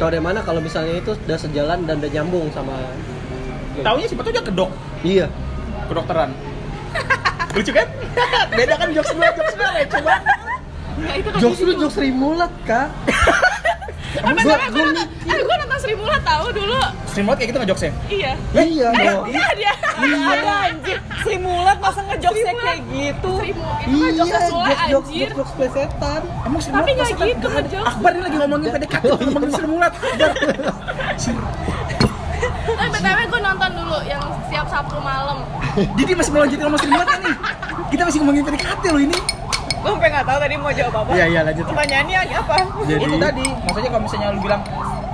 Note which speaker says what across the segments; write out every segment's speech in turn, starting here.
Speaker 1: Tahu dari mana kalau misalnya itu udah sejalan dan udah nyambung sama
Speaker 2: Taunya siapa tuh dia kedok,
Speaker 1: Iya.
Speaker 2: kedokteran. Lucu kan? Beda kan jokes lu, jokes lu ya, coba.
Speaker 3: Enggak itu
Speaker 4: Ah,
Speaker 3: kan
Speaker 1: Jokes lu jokes Sri Mulat, Kak. Gua-
Speaker 3: Apa salah
Speaker 1: gua
Speaker 3: gue nonton
Speaker 1: mikir.
Speaker 3: Eh gue nonton Sri Mulat tau dulu
Speaker 2: Sering banget kayak gitu ngejokesnya.
Speaker 3: Iya
Speaker 1: Iya,
Speaker 3: Iya
Speaker 4: Oh.
Speaker 1: Bo.
Speaker 3: dia dia
Speaker 4: Ada anjir, Sri Mulat
Speaker 2: Oh,
Speaker 4: masa
Speaker 2: ya,
Speaker 4: ngejokesnya
Speaker 3: Mulat.
Speaker 4: kayak gitu
Speaker 3: Sri Mulat Itu
Speaker 1: Iya,
Speaker 3: kan jokes
Speaker 1: jokes
Speaker 3: Sule
Speaker 1: jokes
Speaker 3: anjir
Speaker 1: jokes jokes plesetan.
Speaker 2: Emang Sri
Speaker 3: Tapi
Speaker 2: Mulat
Speaker 3: nggak
Speaker 2: masa
Speaker 3: gitu
Speaker 2: kan-
Speaker 3: jokes.
Speaker 4: Ah.
Speaker 2: Akbar dia lagi ngomongin PDKT, ngomongin Sri Mulat. Akbar.
Speaker 3: Tapi Eh, BTW gue nonton dulu yang setiap Sabtu malam
Speaker 2: Jadi masih melanjutin ngomong Sri Mulat kan nih. Kita masih ngomongin PDKT loh ini.
Speaker 4: Gue sampe gak tau tadi mau jawab apa
Speaker 2: Iya, iya, lanjut.
Speaker 4: Pertanyaannya apa?
Speaker 2: Jadi... Itu tadi, maksudnya kalau misalnya lu bilang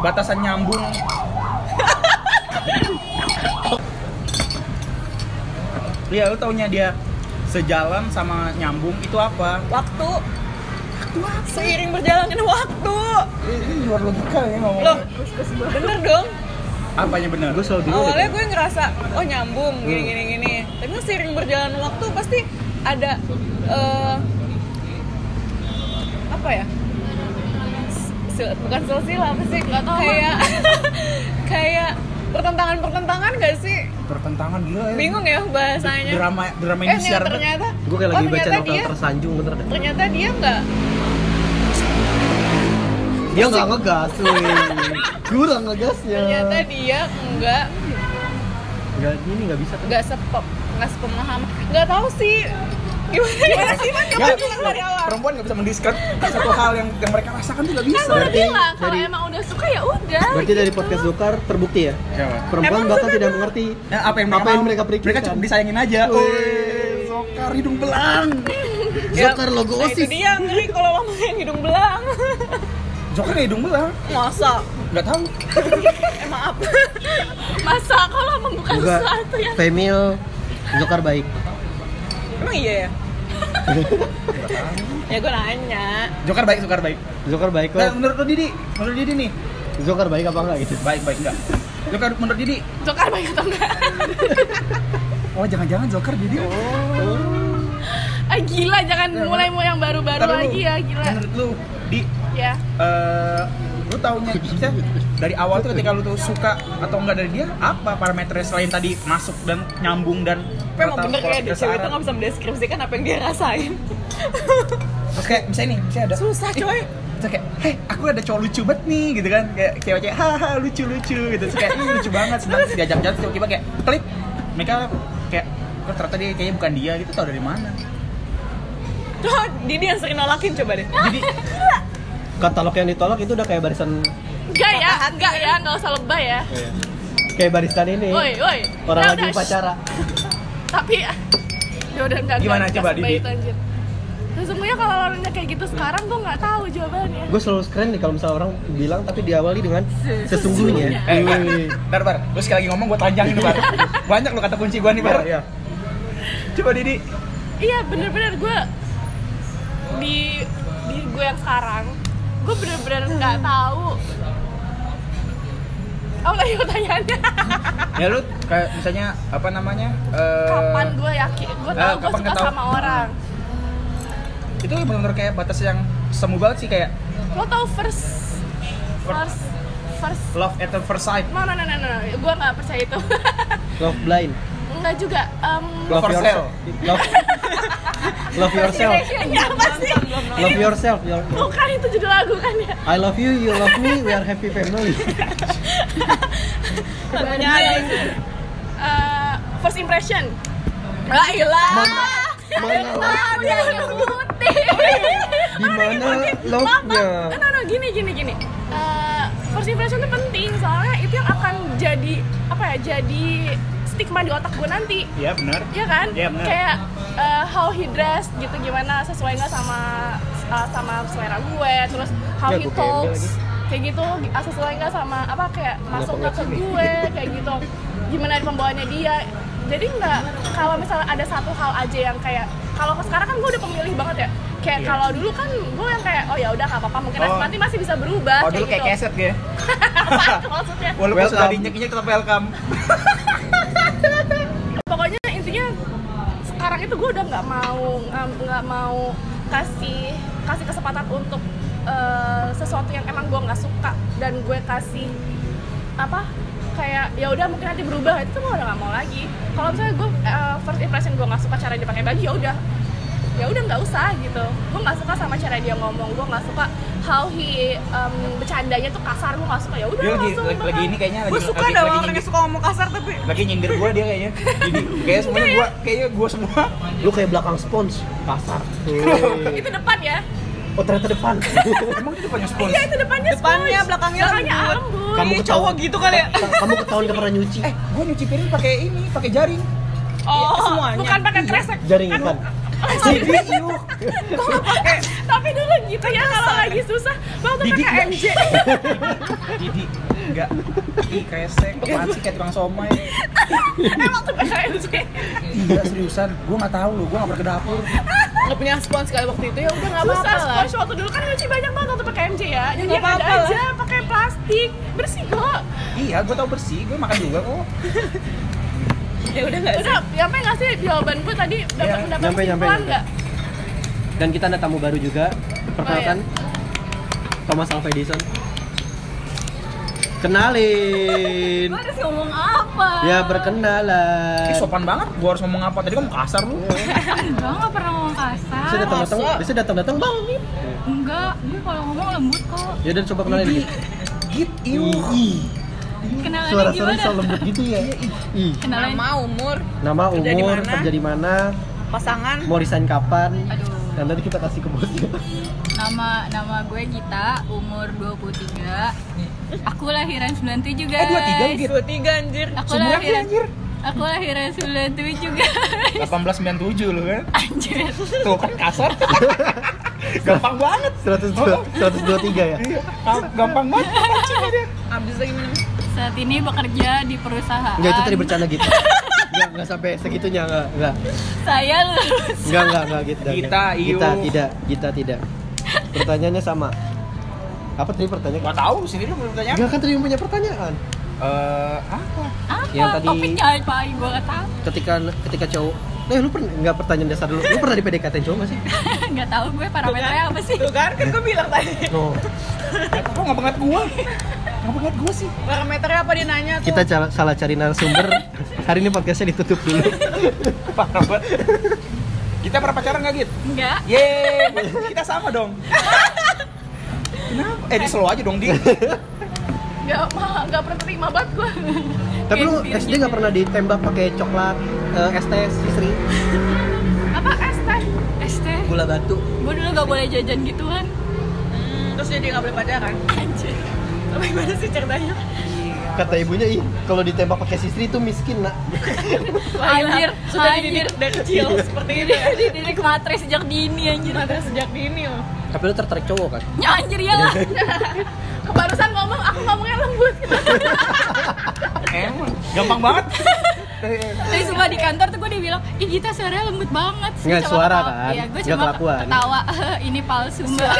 Speaker 2: batasan nyambung Iya, lu taunya dia sejalan sama nyambung itu apa?
Speaker 4: Waktu Seiring berjalannya waktu
Speaker 2: Ini luar logika ya ngomong.
Speaker 4: Loh, bener dong
Speaker 2: Apanya benar?
Speaker 1: Gue selalu bingung.
Speaker 4: awalnya
Speaker 1: deh.
Speaker 4: gue ngerasa oh nyambung gini gini gini tapi kan seiring berjalan waktu pasti ada eh, apa ya Sil- bukan silsilah apa sih
Speaker 3: Nggak tahu,
Speaker 4: kayak kayak pertentangan pertentangan gak sih
Speaker 2: Pertentangan gila ya.
Speaker 4: bingung ya bahasanya
Speaker 2: Drama drama
Speaker 4: eh
Speaker 2: Indonesia.
Speaker 4: ternyata
Speaker 1: Gue kayak
Speaker 4: oh,
Speaker 1: lagi baca
Speaker 4: ternyata
Speaker 1: novel
Speaker 4: dia
Speaker 1: tersanjung bener deh.
Speaker 4: ternyata dia nggak
Speaker 1: Dia nggak ngegas, weh. kurang ngegasnya.
Speaker 4: ternyata dia nggak
Speaker 1: Nggak ini nggak bisa. kan?
Speaker 4: nggak sepem nggak sepemahaman nggak tahu sih gimana, gimana sih kan
Speaker 2: Nggak,
Speaker 4: dari awal
Speaker 2: Ya, perempuan nggak bisa mendiskret satu hal yang yang mereka rasakan tuh nggak
Speaker 3: Kan
Speaker 2: bisa.
Speaker 3: gue udah
Speaker 1: Berarti
Speaker 3: bilang kalau
Speaker 1: dari-
Speaker 3: emang udah suka ya udah
Speaker 1: Berarti dari podcast Dokar terbukti ya,
Speaker 2: Siapa?
Speaker 1: perempuan
Speaker 4: Gitu. Emang
Speaker 1: bahkan
Speaker 4: bener
Speaker 1: tidak
Speaker 4: dong.
Speaker 1: mengerti
Speaker 2: Ya, apa yang mereka
Speaker 1: apa yang
Speaker 2: mau?
Speaker 1: mereka periksa.
Speaker 2: Mereka cuma disayangin aja. Oh,
Speaker 1: Wih.
Speaker 2: Wih, sokar hidung belang.
Speaker 1: Joker logo
Speaker 4: nah itu
Speaker 1: OSIS.
Speaker 4: dia ngeri kalau lama yang hidung belang
Speaker 2: Joker nggak hidung belang.
Speaker 4: masa
Speaker 2: Nggak tahu.
Speaker 4: eh maaf
Speaker 3: Masa kalau membuka
Speaker 1: Enggak.
Speaker 3: sesuatu
Speaker 4: ya.
Speaker 3: yang
Speaker 1: Femil Joker baik.
Speaker 4: emang iya ya ya gue nanya
Speaker 2: Joker baik, Joker baik.
Speaker 1: Joker baik
Speaker 2: Nah,
Speaker 1: lah.
Speaker 2: menurut lo Didi, menurut Didi nih,
Speaker 1: Joker baik apa enggak gitu?
Speaker 2: baik baik nggak? Joker menurut Didi,
Speaker 3: Joker baik atau enggak
Speaker 2: oh jangan-jangan Joker Didi.
Speaker 1: Oh.
Speaker 3: Ah gila jangan
Speaker 2: Ya,
Speaker 3: mulai mulai yang baru-baru
Speaker 2: Ntar dulu.
Speaker 3: lagi ya gila
Speaker 2: Menurut lu, di
Speaker 3: Ya
Speaker 2: eh lu taunya maksudnya dari awal tuh ketika lu tuh suka atau enggak dari dia apa parameternya selain tadi masuk dan nyambung dan
Speaker 4: tapi emang bener
Speaker 2: pola
Speaker 4: kayak di cewek itu
Speaker 2: kekesaran?
Speaker 4: gak bisa mendeskripsikan apa yang dia rasain
Speaker 2: Terus kayak misalnya nih, misalnya ada
Speaker 4: Susah,
Speaker 2: "Ih,"
Speaker 4: coy.
Speaker 2: Terus kayak, hei aku ada cowok lucu banget nih gitu kan Kayak cewek-cewek, haha lucu-lucu gitu Terus kayak, ih lucu banget Senang terus diajak-ajak terus tiba-tiba kayak klik Mereka kayak, kok ternyata dia kayaknya bukan dia gitu tau dari mana
Speaker 4: coba Didi yang sering nolakin coba deh
Speaker 2: Jadi,
Speaker 1: Katalog yang ditolak itu udah kayak barisan
Speaker 3: Enggak ya Enggak ya Enggak usah lebay ya
Speaker 1: kayak barisan ini.
Speaker 3: Woi woi
Speaker 1: Iya. Orang
Speaker 3: Udah,
Speaker 1: lagi
Speaker 3: udah,
Speaker 1: upacara.
Speaker 3: shh. Tapi Ya udah enggak
Speaker 2: Gimana,
Speaker 3: enggak,
Speaker 2: coba,
Speaker 3: enggak
Speaker 2: Didi?
Speaker 3: sebay itu, anjir. Sesungguhnya kalau orangnya kayak gitu sekarang gue nggak tahu jawabannya
Speaker 1: Gue selalu keren nih kalau misalnya orang bilang tapi diawali dengan sesungguhnya. Iya.
Speaker 2: eh, bar, bar, bar, lu sekali lagi ngomong gue tanjangin bar Banyak lu kata kunci gue nih
Speaker 1: Iya,
Speaker 2: bar
Speaker 1: iya.
Speaker 2: Coba Didi
Speaker 3: Iya bener-bener gue Di Di gue yang sekarang Gue bener-bener nggak tahu Oh, Apa tadi pertanyaannya?
Speaker 2: Ya lu kayak misalnya, apa namanya eh,
Speaker 3: Kapan gue yakin? Gue
Speaker 2: eh,
Speaker 3: tahu gue
Speaker 2: kapan
Speaker 3: suka
Speaker 2: ketahu-
Speaker 3: sama orang
Speaker 2: Itu bener-bener kayak batas yang semu banget sih kayak
Speaker 3: lo tau first first first
Speaker 2: Love at the first sight
Speaker 3: no no no no no gue nggak percaya itu
Speaker 1: Love blind.
Speaker 3: nggak juga Em,
Speaker 2: Love for sale.
Speaker 1: Love, love yourself.
Speaker 3: ini apa sih
Speaker 1: Love yourself. Your,
Speaker 3: bukan itu judul lagu Oh, kan ya
Speaker 1: I love you, you love me, we are happy family.
Speaker 4: namanya ada
Speaker 3: Iya, Eh, first impression lah ilah
Speaker 1: Mana- mana
Speaker 3: tadi yang putih
Speaker 1: Di mana love-nya?
Speaker 3: no no gini gini gini Eh, first impression itu penting soalnya itu yang akan jadi apa ya jadi stigma di otak gue nanti
Speaker 2: Iya benar.
Speaker 3: Iya kan?
Speaker 2: Iya, benar.
Speaker 3: Kayak uh, how he dressed gitu gimana sesuai nggak sama uh, sama selera gue, terus how
Speaker 1: Ya,
Speaker 2: Iya,
Speaker 3: he
Speaker 1: gue gembel lagi.
Speaker 3: talks kayak gitu uh, sesuai nggak sama apa kayak masuk nggak ke gue kayak gitu, gimana pembawaannya dia. Jadi nggak kalau misalnya ada satu hal aja yang kayak kalau sekarang kan gue udah pemilih banget ya. Kayak
Speaker 2: Iya.
Speaker 3: kalau dulu kan gue yang kayak oh ya udah nggak apa-apa mungkin
Speaker 2: Oh.
Speaker 3: nanti masih bisa berubah
Speaker 2: Oh dulu kayak
Speaker 3: gitu.
Speaker 2: keset ya.
Speaker 3: Apaan tuh maksudnya?
Speaker 2: Walaupun
Speaker 1: Welcome.
Speaker 2: sudah dinyek-nyek tetap welcome.
Speaker 3: pokoknya intinya sekarang itu gue udah nggak mau nggak nggak mau kasih kasih kesempatan untuk eh, sesuatu sesuatu yang emang gue nggak suka dan gue kasih apa kayak ya udah mungkin nanti berubah itu gue udah nggak mau lagi kalau misalnya gue eh, first impression gue nggak suka cara dia pakai baju ya udah ya udah nggak usah gitu gue nggak suka sama cara dia ngomong gue nggak suka how he um, bercandanya tuh kasar gue nggak suka ya udah
Speaker 2: Dia lagi-
Speaker 3: langsung kan.
Speaker 2: lagi- lagi
Speaker 3: bahkan.
Speaker 2: ini kayaknya
Speaker 4: gue
Speaker 2: lagi-
Speaker 4: suka
Speaker 2: lagi-
Speaker 4: dah
Speaker 2: lagi
Speaker 4: orang yang
Speaker 2: nyindir-
Speaker 4: suka ngomong kasar tapi
Speaker 2: lagi nyindir gue dia kayaknya ini kayaknya semuanya gue kayaknya gue semua
Speaker 1: Lu kayak belakang spons, kasar.
Speaker 3: itu depan ya
Speaker 1: Oh ternyata depan.
Speaker 2: emang itu depannya spons
Speaker 3: iya itu depannya
Speaker 4: Depannya,
Speaker 3: sponge.
Speaker 4: belakangnya
Speaker 3: belakangnya
Speaker 4: lembut.
Speaker 3: ambun
Speaker 1: Kamu
Speaker 4: Ih,
Speaker 1: ketawa-
Speaker 4: cowok gitu kali ya
Speaker 1: Kamu ketahuan gak pernah nyuci.
Speaker 2: eh gue nyuci piring pakai ini pakai jaring
Speaker 4: oh
Speaker 3: iya,
Speaker 4: semuanya
Speaker 3: bukan pakai kresek
Speaker 1: Jaring ikan.
Speaker 2: jadi yuk
Speaker 3: Iya, eh, tapi dulu gitu ya kalau lagi susah waktu
Speaker 2: Didik
Speaker 3: pakai
Speaker 2: nggak?
Speaker 3: MJ
Speaker 2: jadi enggak Ih, kresek apaan sih kayak tukang somai
Speaker 3: emang tuh pakai MJ
Speaker 2: iya seriusan gue nggak tahu loh gue nggak pernah ke dapur
Speaker 4: nggak punya spons kali waktu itu ya udah nggak
Speaker 3: susah
Speaker 4: apa-apa lah
Speaker 3: sponge waktu dulu kan nyuci banyak banget waktu pakai MJ ya jadi
Speaker 4: nggak
Speaker 3: yang ada
Speaker 4: apa-apa lah.
Speaker 3: aja pakai plastik bersih kok
Speaker 2: iya gue tahu bersih gue makan juga kok
Speaker 4: ya udah nggak sih
Speaker 3: udah nyampe nggak sih jawaban gue tadi dapat
Speaker 2: Iya,
Speaker 3: pendapat
Speaker 1: nyampe, nyampe,
Speaker 3: kesimpulan
Speaker 1: nyampe.
Speaker 3: nggak
Speaker 1: Dan kita ada tamu baru juga. Perkenalkan Thomas Alva Edison. Kenalin.
Speaker 3: Gua harus ngomong apa?
Speaker 1: Ya berkendala.
Speaker 2: Ih, sopan banget gue harus ngomong apa tadi kamu kasar lu
Speaker 4: Iya.
Speaker 5: Enggak, enggak pernah ngomong kasar.
Speaker 1: Bisa datang datang,
Speaker 4: Masa?
Speaker 1: bisa datang datang bang.
Speaker 5: Enggak, gue kalau ngomong lembut kok.
Speaker 1: Ya dan coba kenalin. Git.
Speaker 2: git iu
Speaker 1: Ih,
Speaker 5: Kenalannya
Speaker 1: Suara saya
Speaker 5: gimana?
Speaker 1: bisa lembut gitu ya. Ih.
Speaker 5: Kenalan.
Speaker 4: nama umur
Speaker 1: Nama
Speaker 4: Kerja di
Speaker 1: umur,
Speaker 4: mana?
Speaker 1: kerja di mana,
Speaker 4: pasangan
Speaker 1: mau resign kapan.
Speaker 5: Aduh.
Speaker 1: Dan nanti kita kasih ke bosnya.
Speaker 5: Nama nama gue Gita, umur 23. Aku lahiran 97,
Speaker 2: Eh,
Speaker 5: guys.
Speaker 2: 23 lu, Git?
Speaker 4: dua tiga anjir
Speaker 5: Aku
Speaker 2: Seumuran
Speaker 4: Iya.
Speaker 2: sih,
Speaker 5: lahiran
Speaker 2: anjir.
Speaker 5: Aku lahiran 97 juga.
Speaker 2: 1897 lu kan
Speaker 5: Anjir.
Speaker 2: tuh kan kasar gampang banget
Speaker 1: 102, 123 ya.
Speaker 2: gampang banget
Speaker 4: abis lagi minum
Speaker 5: Saat ini bekerja di perusahaan.
Speaker 1: Enggak itu tadi bercanda gitu. Enggak, enggak sampai segitunya enggak, enggak.
Speaker 5: Saya lulus.
Speaker 1: Enggak, enggak, enggak gitu.
Speaker 2: Gita, iu.
Speaker 1: Gita, tidak, Gita tidak. Pertanyaannya sama. Apa tadi pertanyaan?
Speaker 2: Gak tahu sini lu belum tanya.
Speaker 1: Enggak kan tadi yang punya pertanyaan.
Speaker 2: Eh, apa?
Speaker 5: Apa? Oh,
Speaker 1: Yang tadi-
Speaker 5: Topiknya apa? Gue gak tahu.
Speaker 1: Ketika ketika cowok Eh lu pernah enggak pertanyaan dasar dulu. Lu pernah di PDKT cowok enggak sih?
Speaker 5: Gak tahu gue parameternya apa sih?
Speaker 4: tuh kan kan gue bilang tadi
Speaker 1: No.
Speaker 2: Kok nggak banget gua? Nggak banget gua sih.
Speaker 4: parameternya apa dia nanya tuh
Speaker 1: Kita cara- salah cari narasumber. Hari ini podcastnya ditutup dulu.
Speaker 2: Parah banget. Kita pernah pacaran nggak gitu?
Speaker 5: Enggak.
Speaker 2: Yeay, kita sama dong. Kenapa? Eh, di slow aja dong, Di.
Speaker 3: nggak mah nggak pernah terima banget gue
Speaker 1: Tapi lu SD enggak pernah ditembak pakai coklat eh, es teh sisri,
Speaker 3: apa es teh
Speaker 5: ST.
Speaker 1: gula batu.
Speaker 5: Gue dulu gak boleh jajan gituan.
Speaker 4: Hmm, terus jadi nggak boleh pacaran
Speaker 5: Anjir.
Speaker 4: tapi gimana sih ceritanya
Speaker 1: Kata ibunya, "Ih, kalau ditembak pakai sisri itu miskin, Nak."
Speaker 5: Anjir,
Speaker 4: sudah
Speaker 5: anjir.
Speaker 4: dididik dari kecil seperti itu ya
Speaker 5: Dididik materi sejak dini anjir.
Speaker 4: Mata sejak dini loh
Speaker 1: Tapi lu tertarik cowok kan?
Speaker 5: Ya anjir iyalah.
Speaker 3: kebarusan ngomong aku ngomongnya lembut
Speaker 2: Emang gampang banget.
Speaker 5: Tapi semua di kantor tuh gue dibilang, "Ih, Gita suaranya lembut banget." Gua
Speaker 1: Nggak,
Speaker 5: cuma
Speaker 1: suara
Speaker 5: ketawa.
Speaker 1: kan?
Speaker 5: Iya, gue
Speaker 1: Nggak
Speaker 5: cuma
Speaker 1: kelakuan.
Speaker 5: ketawa. "Eh, Ini palsu mbak.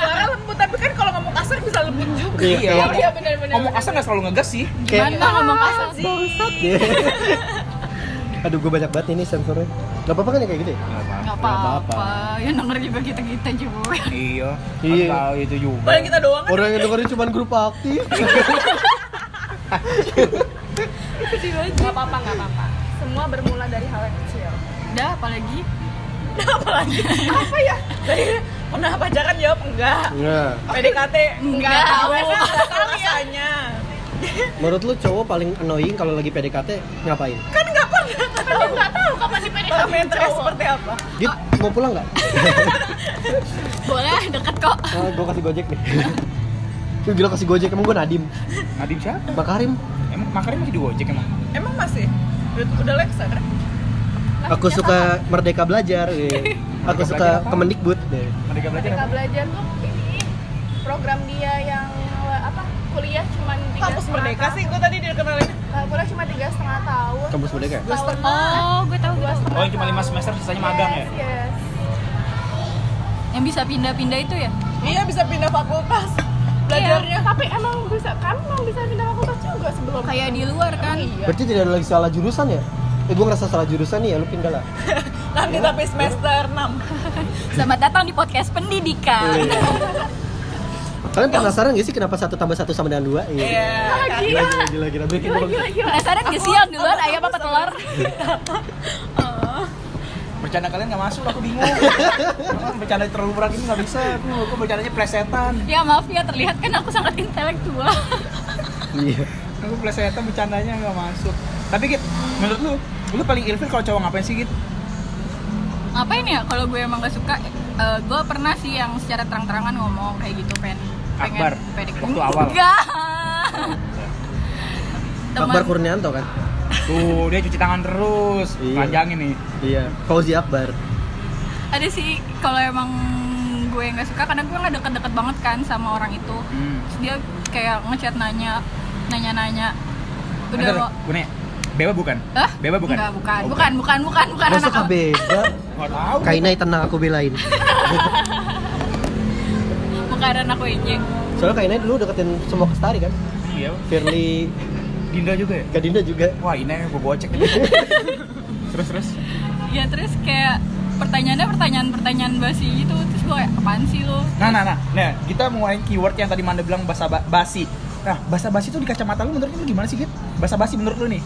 Speaker 4: suara lembut tapi kan kalau ngomong kasar bisa lembut juga
Speaker 2: Iya.
Speaker 3: iya iya benar-benar
Speaker 2: Ngomong kasar nggak selalu ngegas sih.
Speaker 5: Gimana ngomong kasar sih?
Speaker 1: Aduh, gue banyak banget ini sensornya. Gak apa-apa kan ya kayak gitu ya?
Speaker 5: Gak
Speaker 1: apa-apa.
Speaker 5: apa-apa. Ya denger juga kita-kita juga.
Speaker 2: Iya.
Speaker 1: Iya.
Speaker 2: Atau itu juga.
Speaker 4: Paling kita doang kan
Speaker 1: Orang yang dengerin cuma grup aktif.
Speaker 3: nggak apa-apa nggak apa-apa semua bermula dari hal yang kecil
Speaker 5: Udah, apalagi
Speaker 4: apa ya? Tadi pernah pacaran jawab enggak.
Speaker 1: Nah,
Speaker 3: Oh.
Speaker 4: PDKT
Speaker 5: Enggak.
Speaker 4: Awalnya kan enggak tahu rasanya.
Speaker 1: menurut lu cowok paling annoying kalau lagi PDKT ngapain?
Speaker 4: Kan enggak pernah
Speaker 3: kan dia nggak tahu kapan di PDKT
Speaker 4: parameternya
Speaker 3: cowok.
Speaker 4: seperti apa.
Speaker 1: Git, mau pulang nggak?
Speaker 5: boleh deket kok.
Speaker 1: Ah, gue kasih gojek nih. Lu gila kasih gojek, emang gue Nadim?
Speaker 2: Nadiem siapa?
Speaker 1: Makarim?
Speaker 2: Emang makarnya masih di Gojek emang?
Speaker 4: Emang masih? Udah, udah Lexa kan?
Speaker 1: Aku suka Merdeka Belajar. iya. Aku suka Kemendikbud. iya.
Speaker 2: Merdeka belajar
Speaker 3: mereka
Speaker 2: apa?
Speaker 3: belajar tuh ini program dia yang eh, apa kuliah cuma tiga
Speaker 4: Kampus
Speaker 3: setengah
Speaker 4: Merdeka
Speaker 3: tahun.
Speaker 4: sih gua tadi dikenalin.
Speaker 3: Eh, kuliah cuma tiga setengah tahun
Speaker 1: Kampus Merdeka. ya?
Speaker 3: Dua setengah
Speaker 5: Oh, gue tahu
Speaker 3: dua
Speaker 5: gue.
Speaker 3: setengah
Speaker 2: Oh, yang cuma
Speaker 3: tahun.
Speaker 2: 5 semester sisanya magang ya?
Speaker 3: Yes, yes.
Speaker 5: Yang bisa pindah-pindah itu ya?
Speaker 4: Iya bisa pindah fakultas.
Speaker 3: belajarnya
Speaker 4: Belajarnya
Speaker 3: Iya, tapi emang bisa kan emang bisa pindah fakultas juga sebelum
Speaker 5: Kayak di luar kan.
Speaker 3: iya
Speaker 1: Berarti tidak ada lagi salah jurusan ya? Eh, gue ngerasa salah jurusan nih ya, lu pindah lah.
Speaker 4: nanti tapi semester 6.
Speaker 1: Iya.
Speaker 5: Selamat datang di podcast pendidikan.
Speaker 1: Kalian penasaran gak sih kenapa satu tambah satu sama dengan dua?
Speaker 4: Iya.
Speaker 1: Gila,
Speaker 3: Ah, gila
Speaker 1: gila, gila, gila. Bikin
Speaker 3: gila
Speaker 1: dong.
Speaker 3: gila gila
Speaker 5: Penasaran gak sih yang duluan ayam apa telur?
Speaker 2: bercanda kalian nggak masuk aku bingung Emang bercanda terlalu berat ini nggak bisa aku aku bercandanya plesetan
Speaker 5: Ya maaf ya terlihat kan aku sangat intelektual.
Speaker 1: Iya.
Speaker 2: aku plesetan bercandanya nggak masuk tapi git menurut lu lu paling ilfil kalau cowok ngapain sih git
Speaker 5: Ngapain ya kalau gue emang gak suka? eh, gue pernah sih yang secara terang-terangan ngomong kayak gitu pengen pengen
Speaker 2: Akbar,
Speaker 5: pengen-
Speaker 2: waktu awal.
Speaker 5: Enggak.
Speaker 1: Akbar
Speaker 5: Teman
Speaker 1: Kurnianto kan?
Speaker 2: tuh dia cuci tangan terus
Speaker 1: Iya.
Speaker 2: panjangin nih
Speaker 1: Iya. Fauzi Akbar.
Speaker 5: ada sih kalau emang gue nggak suka kadang gue nggak deket-deket banget kan sama orang itu
Speaker 2: hmm.
Speaker 5: Terus dia kayak ngechat nanya nanya-nanya udah
Speaker 2: Bentar,
Speaker 5: lo
Speaker 2: gue nanya, beba bukan
Speaker 5: Hah?
Speaker 2: beba bukan
Speaker 5: Enggak, bukan.
Speaker 2: Oh,
Speaker 5: bukan, bukan, bukan, bukan,
Speaker 4: Kan
Speaker 1: Masuk
Speaker 5: anak-
Speaker 1: beda.
Speaker 2: nggak tahu
Speaker 1: Kainai tenang aku belain.
Speaker 5: bukan anak WJ.
Speaker 1: Soalnya Kainai dulu deketin semua kestari kan?
Speaker 2: iya
Speaker 1: Firly,
Speaker 2: Dinda juga ya
Speaker 1: Gadinda juga.
Speaker 2: wah ini gue gocek terus terus
Speaker 5: Ya terus kayak pertanyaannya pertanyaan-pertanyaan basi gitu. Terus gue kayak apaan sih lo?
Speaker 2: nah nah nah nah kita mulai keyword yang tadi Manda bilang bahasa ba- basi nah bahasa basi itu di kacamata lu menurut lu gimana sih git bahasa basi menurut lu nih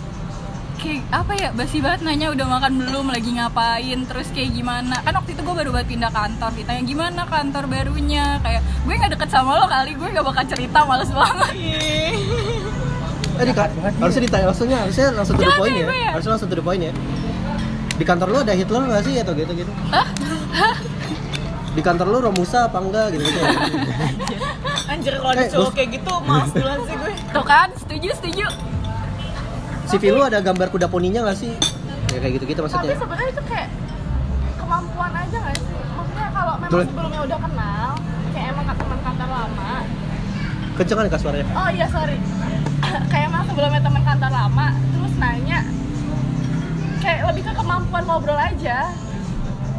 Speaker 5: Kayak apa ya basi banget nanya udah makan belum, lagi ngapain, terus kayak gimana? Kan waktu itu gue baru banget pindah kantor, ditanya gimana kantor barunya? Kayak gue nggak deket sama lo kali, gue nggak bakal cerita, males banget.
Speaker 1: Eh, di,
Speaker 2: Jahat banget
Speaker 1: harusnya ditanya langsungnya, harusnya langsung to the
Speaker 5: Jahat
Speaker 1: point
Speaker 5: ya,
Speaker 1: ya.
Speaker 5: gue ya?
Speaker 1: Harusnya langsung to the point ya. Di kantor lu ada Hitler nggak sih atau gitu gitu? Di kantor lu Romusa apa enggak gitu gitu?
Speaker 4: Anjir kalau ada
Speaker 1: Eh,
Speaker 4: cowok
Speaker 1: bos.
Speaker 4: kayak gitu males duluan sih gue.
Speaker 5: Tuh kan, setuju, setuju.
Speaker 4: gitu.
Speaker 1: CV lu ada gambar kuda poninya nggak sih? Ya kayak gitu gitu
Speaker 3: tapi
Speaker 1: maksudnya.
Speaker 3: sebenarnya itu kayak kemampuan aja nggak sih maksudnya kalau memang
Speaker 1: Betul.
Speaker 3: sebelumnya udah kenal kayak emang teman kantor lama
Speaker 1: Kencengan kan kak suaranya?
Speaker 3: oh iya sorry kayak emang sebelumnya teman kantor lama terus nanya kayak lebih ke kemampuan ngobrol aja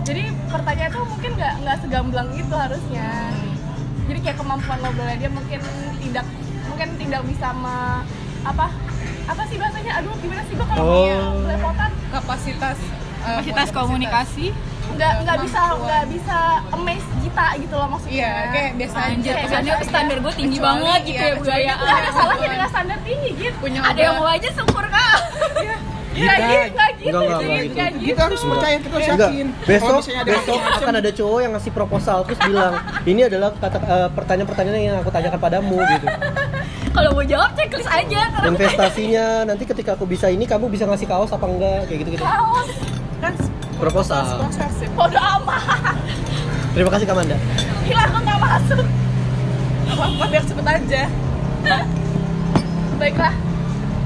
Speaker 3: jadi pertanyaan tuh mungkin nggak nggak segamblang gitu harusnya jadi kayak kemampuan ngobrolnya dia mungkin tidak mungkin tidak bisa me, apa apa sih bahasanya aduh gimana sih gua kalau
Speaker 1: Oh.
Speaker 3: punya belepotan
Speaker 4: Kapasitas eh,
Speaker 5: Kapasitas
Speaker 4: bukan
Speaker 5: komunikasi.
Speaker 3: nggak nggak bisa
Speaker 4: Kemampuan.
Speaker 3: nggak bisa amaze kita gitu loh maksudnya
Speaker 4: Iya, kayak biasa
Speaker 5: Anjir,
Speaker 4: aja.
Speaker 3: Kayak
Speaker 5: kesannya
Speaker 3: biasa
Speaker 5: standar gue tinggi
Speaker 4: Kecuali,
Speaker 5: banget gitu
Speaker 4: iya,
Speaker 5: ya
Speaker 4: kecuali
Speaker 5: budaya.
Speaker 3: nggak ada salahnya dengan standar tinggi gitu
Speaker 4: Punya Iya.
Speaker 5: Ada yang mau aja syukur kak.
Speaker 2: Gita.
Speaker 3: nggak gitu
Speaker 1: Enggak,
Speaker 3: nggak gitu
Speaker 1: enggak,
Speaker 3: Ji.
Speaker 1: enggak
Speaker 3: Nggak
Speaker 1: gitu.
Speaker 2: kita harus percaya kita harus
Speaker 1: Enggak,
Speaker 2: yakin Kalau
Speaker 1: besok
Speaker 2: misalnya ada
Speaker 1: besok
Speaker 2: macam-macam,
Speaker 1: akan ada cowok yang ngasih proposal terus bilang ini adalah kata eh, pertanyaan-pertanyaan yang aku tanyakan padamu gitu.
Speaker 5: Kalau mau jawab checklist aja. karena
Speaker 1: Investasinya nanti ketika aku bisa ini kamu bisa ngasih kaos apa enggak kayak gitu gitu.
Speaker 3: kaos
Speaker 4: kan
Speaker 1: Proposal.
Speaker 2: ya.
Speaker 4: sponsorship.
Speaker 3: bodoh amat
Speaker 1: Terima kasih Kamanda.
Speaker 3: gila aku nggak masuk
Speaker 4: Apa biar cepet aja.
Speaker 3: baiklah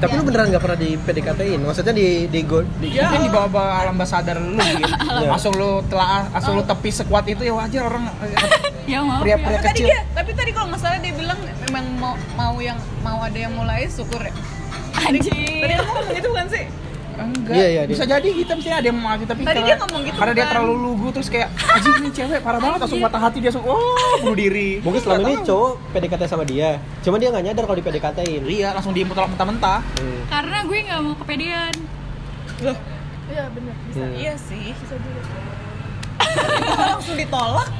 Speaker 1: Tapi lu beneran nggak pernah di PDKT-in? Maksudnya di di, go, di
Speaker 2: Ya. Mungkin di bawah-bawah alam bawah sadar lu gitu.
Speaker 4: Ya.
Speaker 2: Langsung lu telah langsung lu tepi sekuat itu ya wajar orang
Speaker 5: Ya mau.
Speaker 2: pria-pria
Speaker 4: Oh. iya. Tadi
Speaker 2: kecil.
Speaker 4: dia, tapi tadi kalau nggak salah dia bilang memang mau mau yang mau ada yang mulai syukur ya. Tadi
Speaker 5: Anjir.
Speaker 4: kamu ngomong gitu bukan sih?
Speaker 1: Enggak. Iya,
Speaker 2: Iya,
Speaker 1: iya,
Speaker 2: Bisa
Speaker 1: dia.
Speaker 2: jadi kita mesti ada yang mau tapi
Speaker 4: Tadi
Speaker 2: karena-
Speaker 4: dia ngomong gitu,
Speaker 2: karena dia
Speaker 4: bukan? Iya.
Speaker 2: terlalu lugu terus kayak anjing ini cewek parah banget langsung patah hati dia langsung oh bunuh diri.
Speaker 1: Mungkin selama ini
Speaker 2: Nggak tahu.
Speaker 1: cowok PDKT sama dia. Cuma dia nggak nyadar kalau di PDKT-in.
Speaker 2: Iya, langsung diimput orang mentah-mentah.
Speaker 1: Hmm.
Speaker 5: Karena gue nggak mau kepedean.
Speaker 4: Loh,
Speaker 3: iya bener bisa
Speaker 1: Hmm.
Speaker 4: iya sih. Bisa langsung ditolak.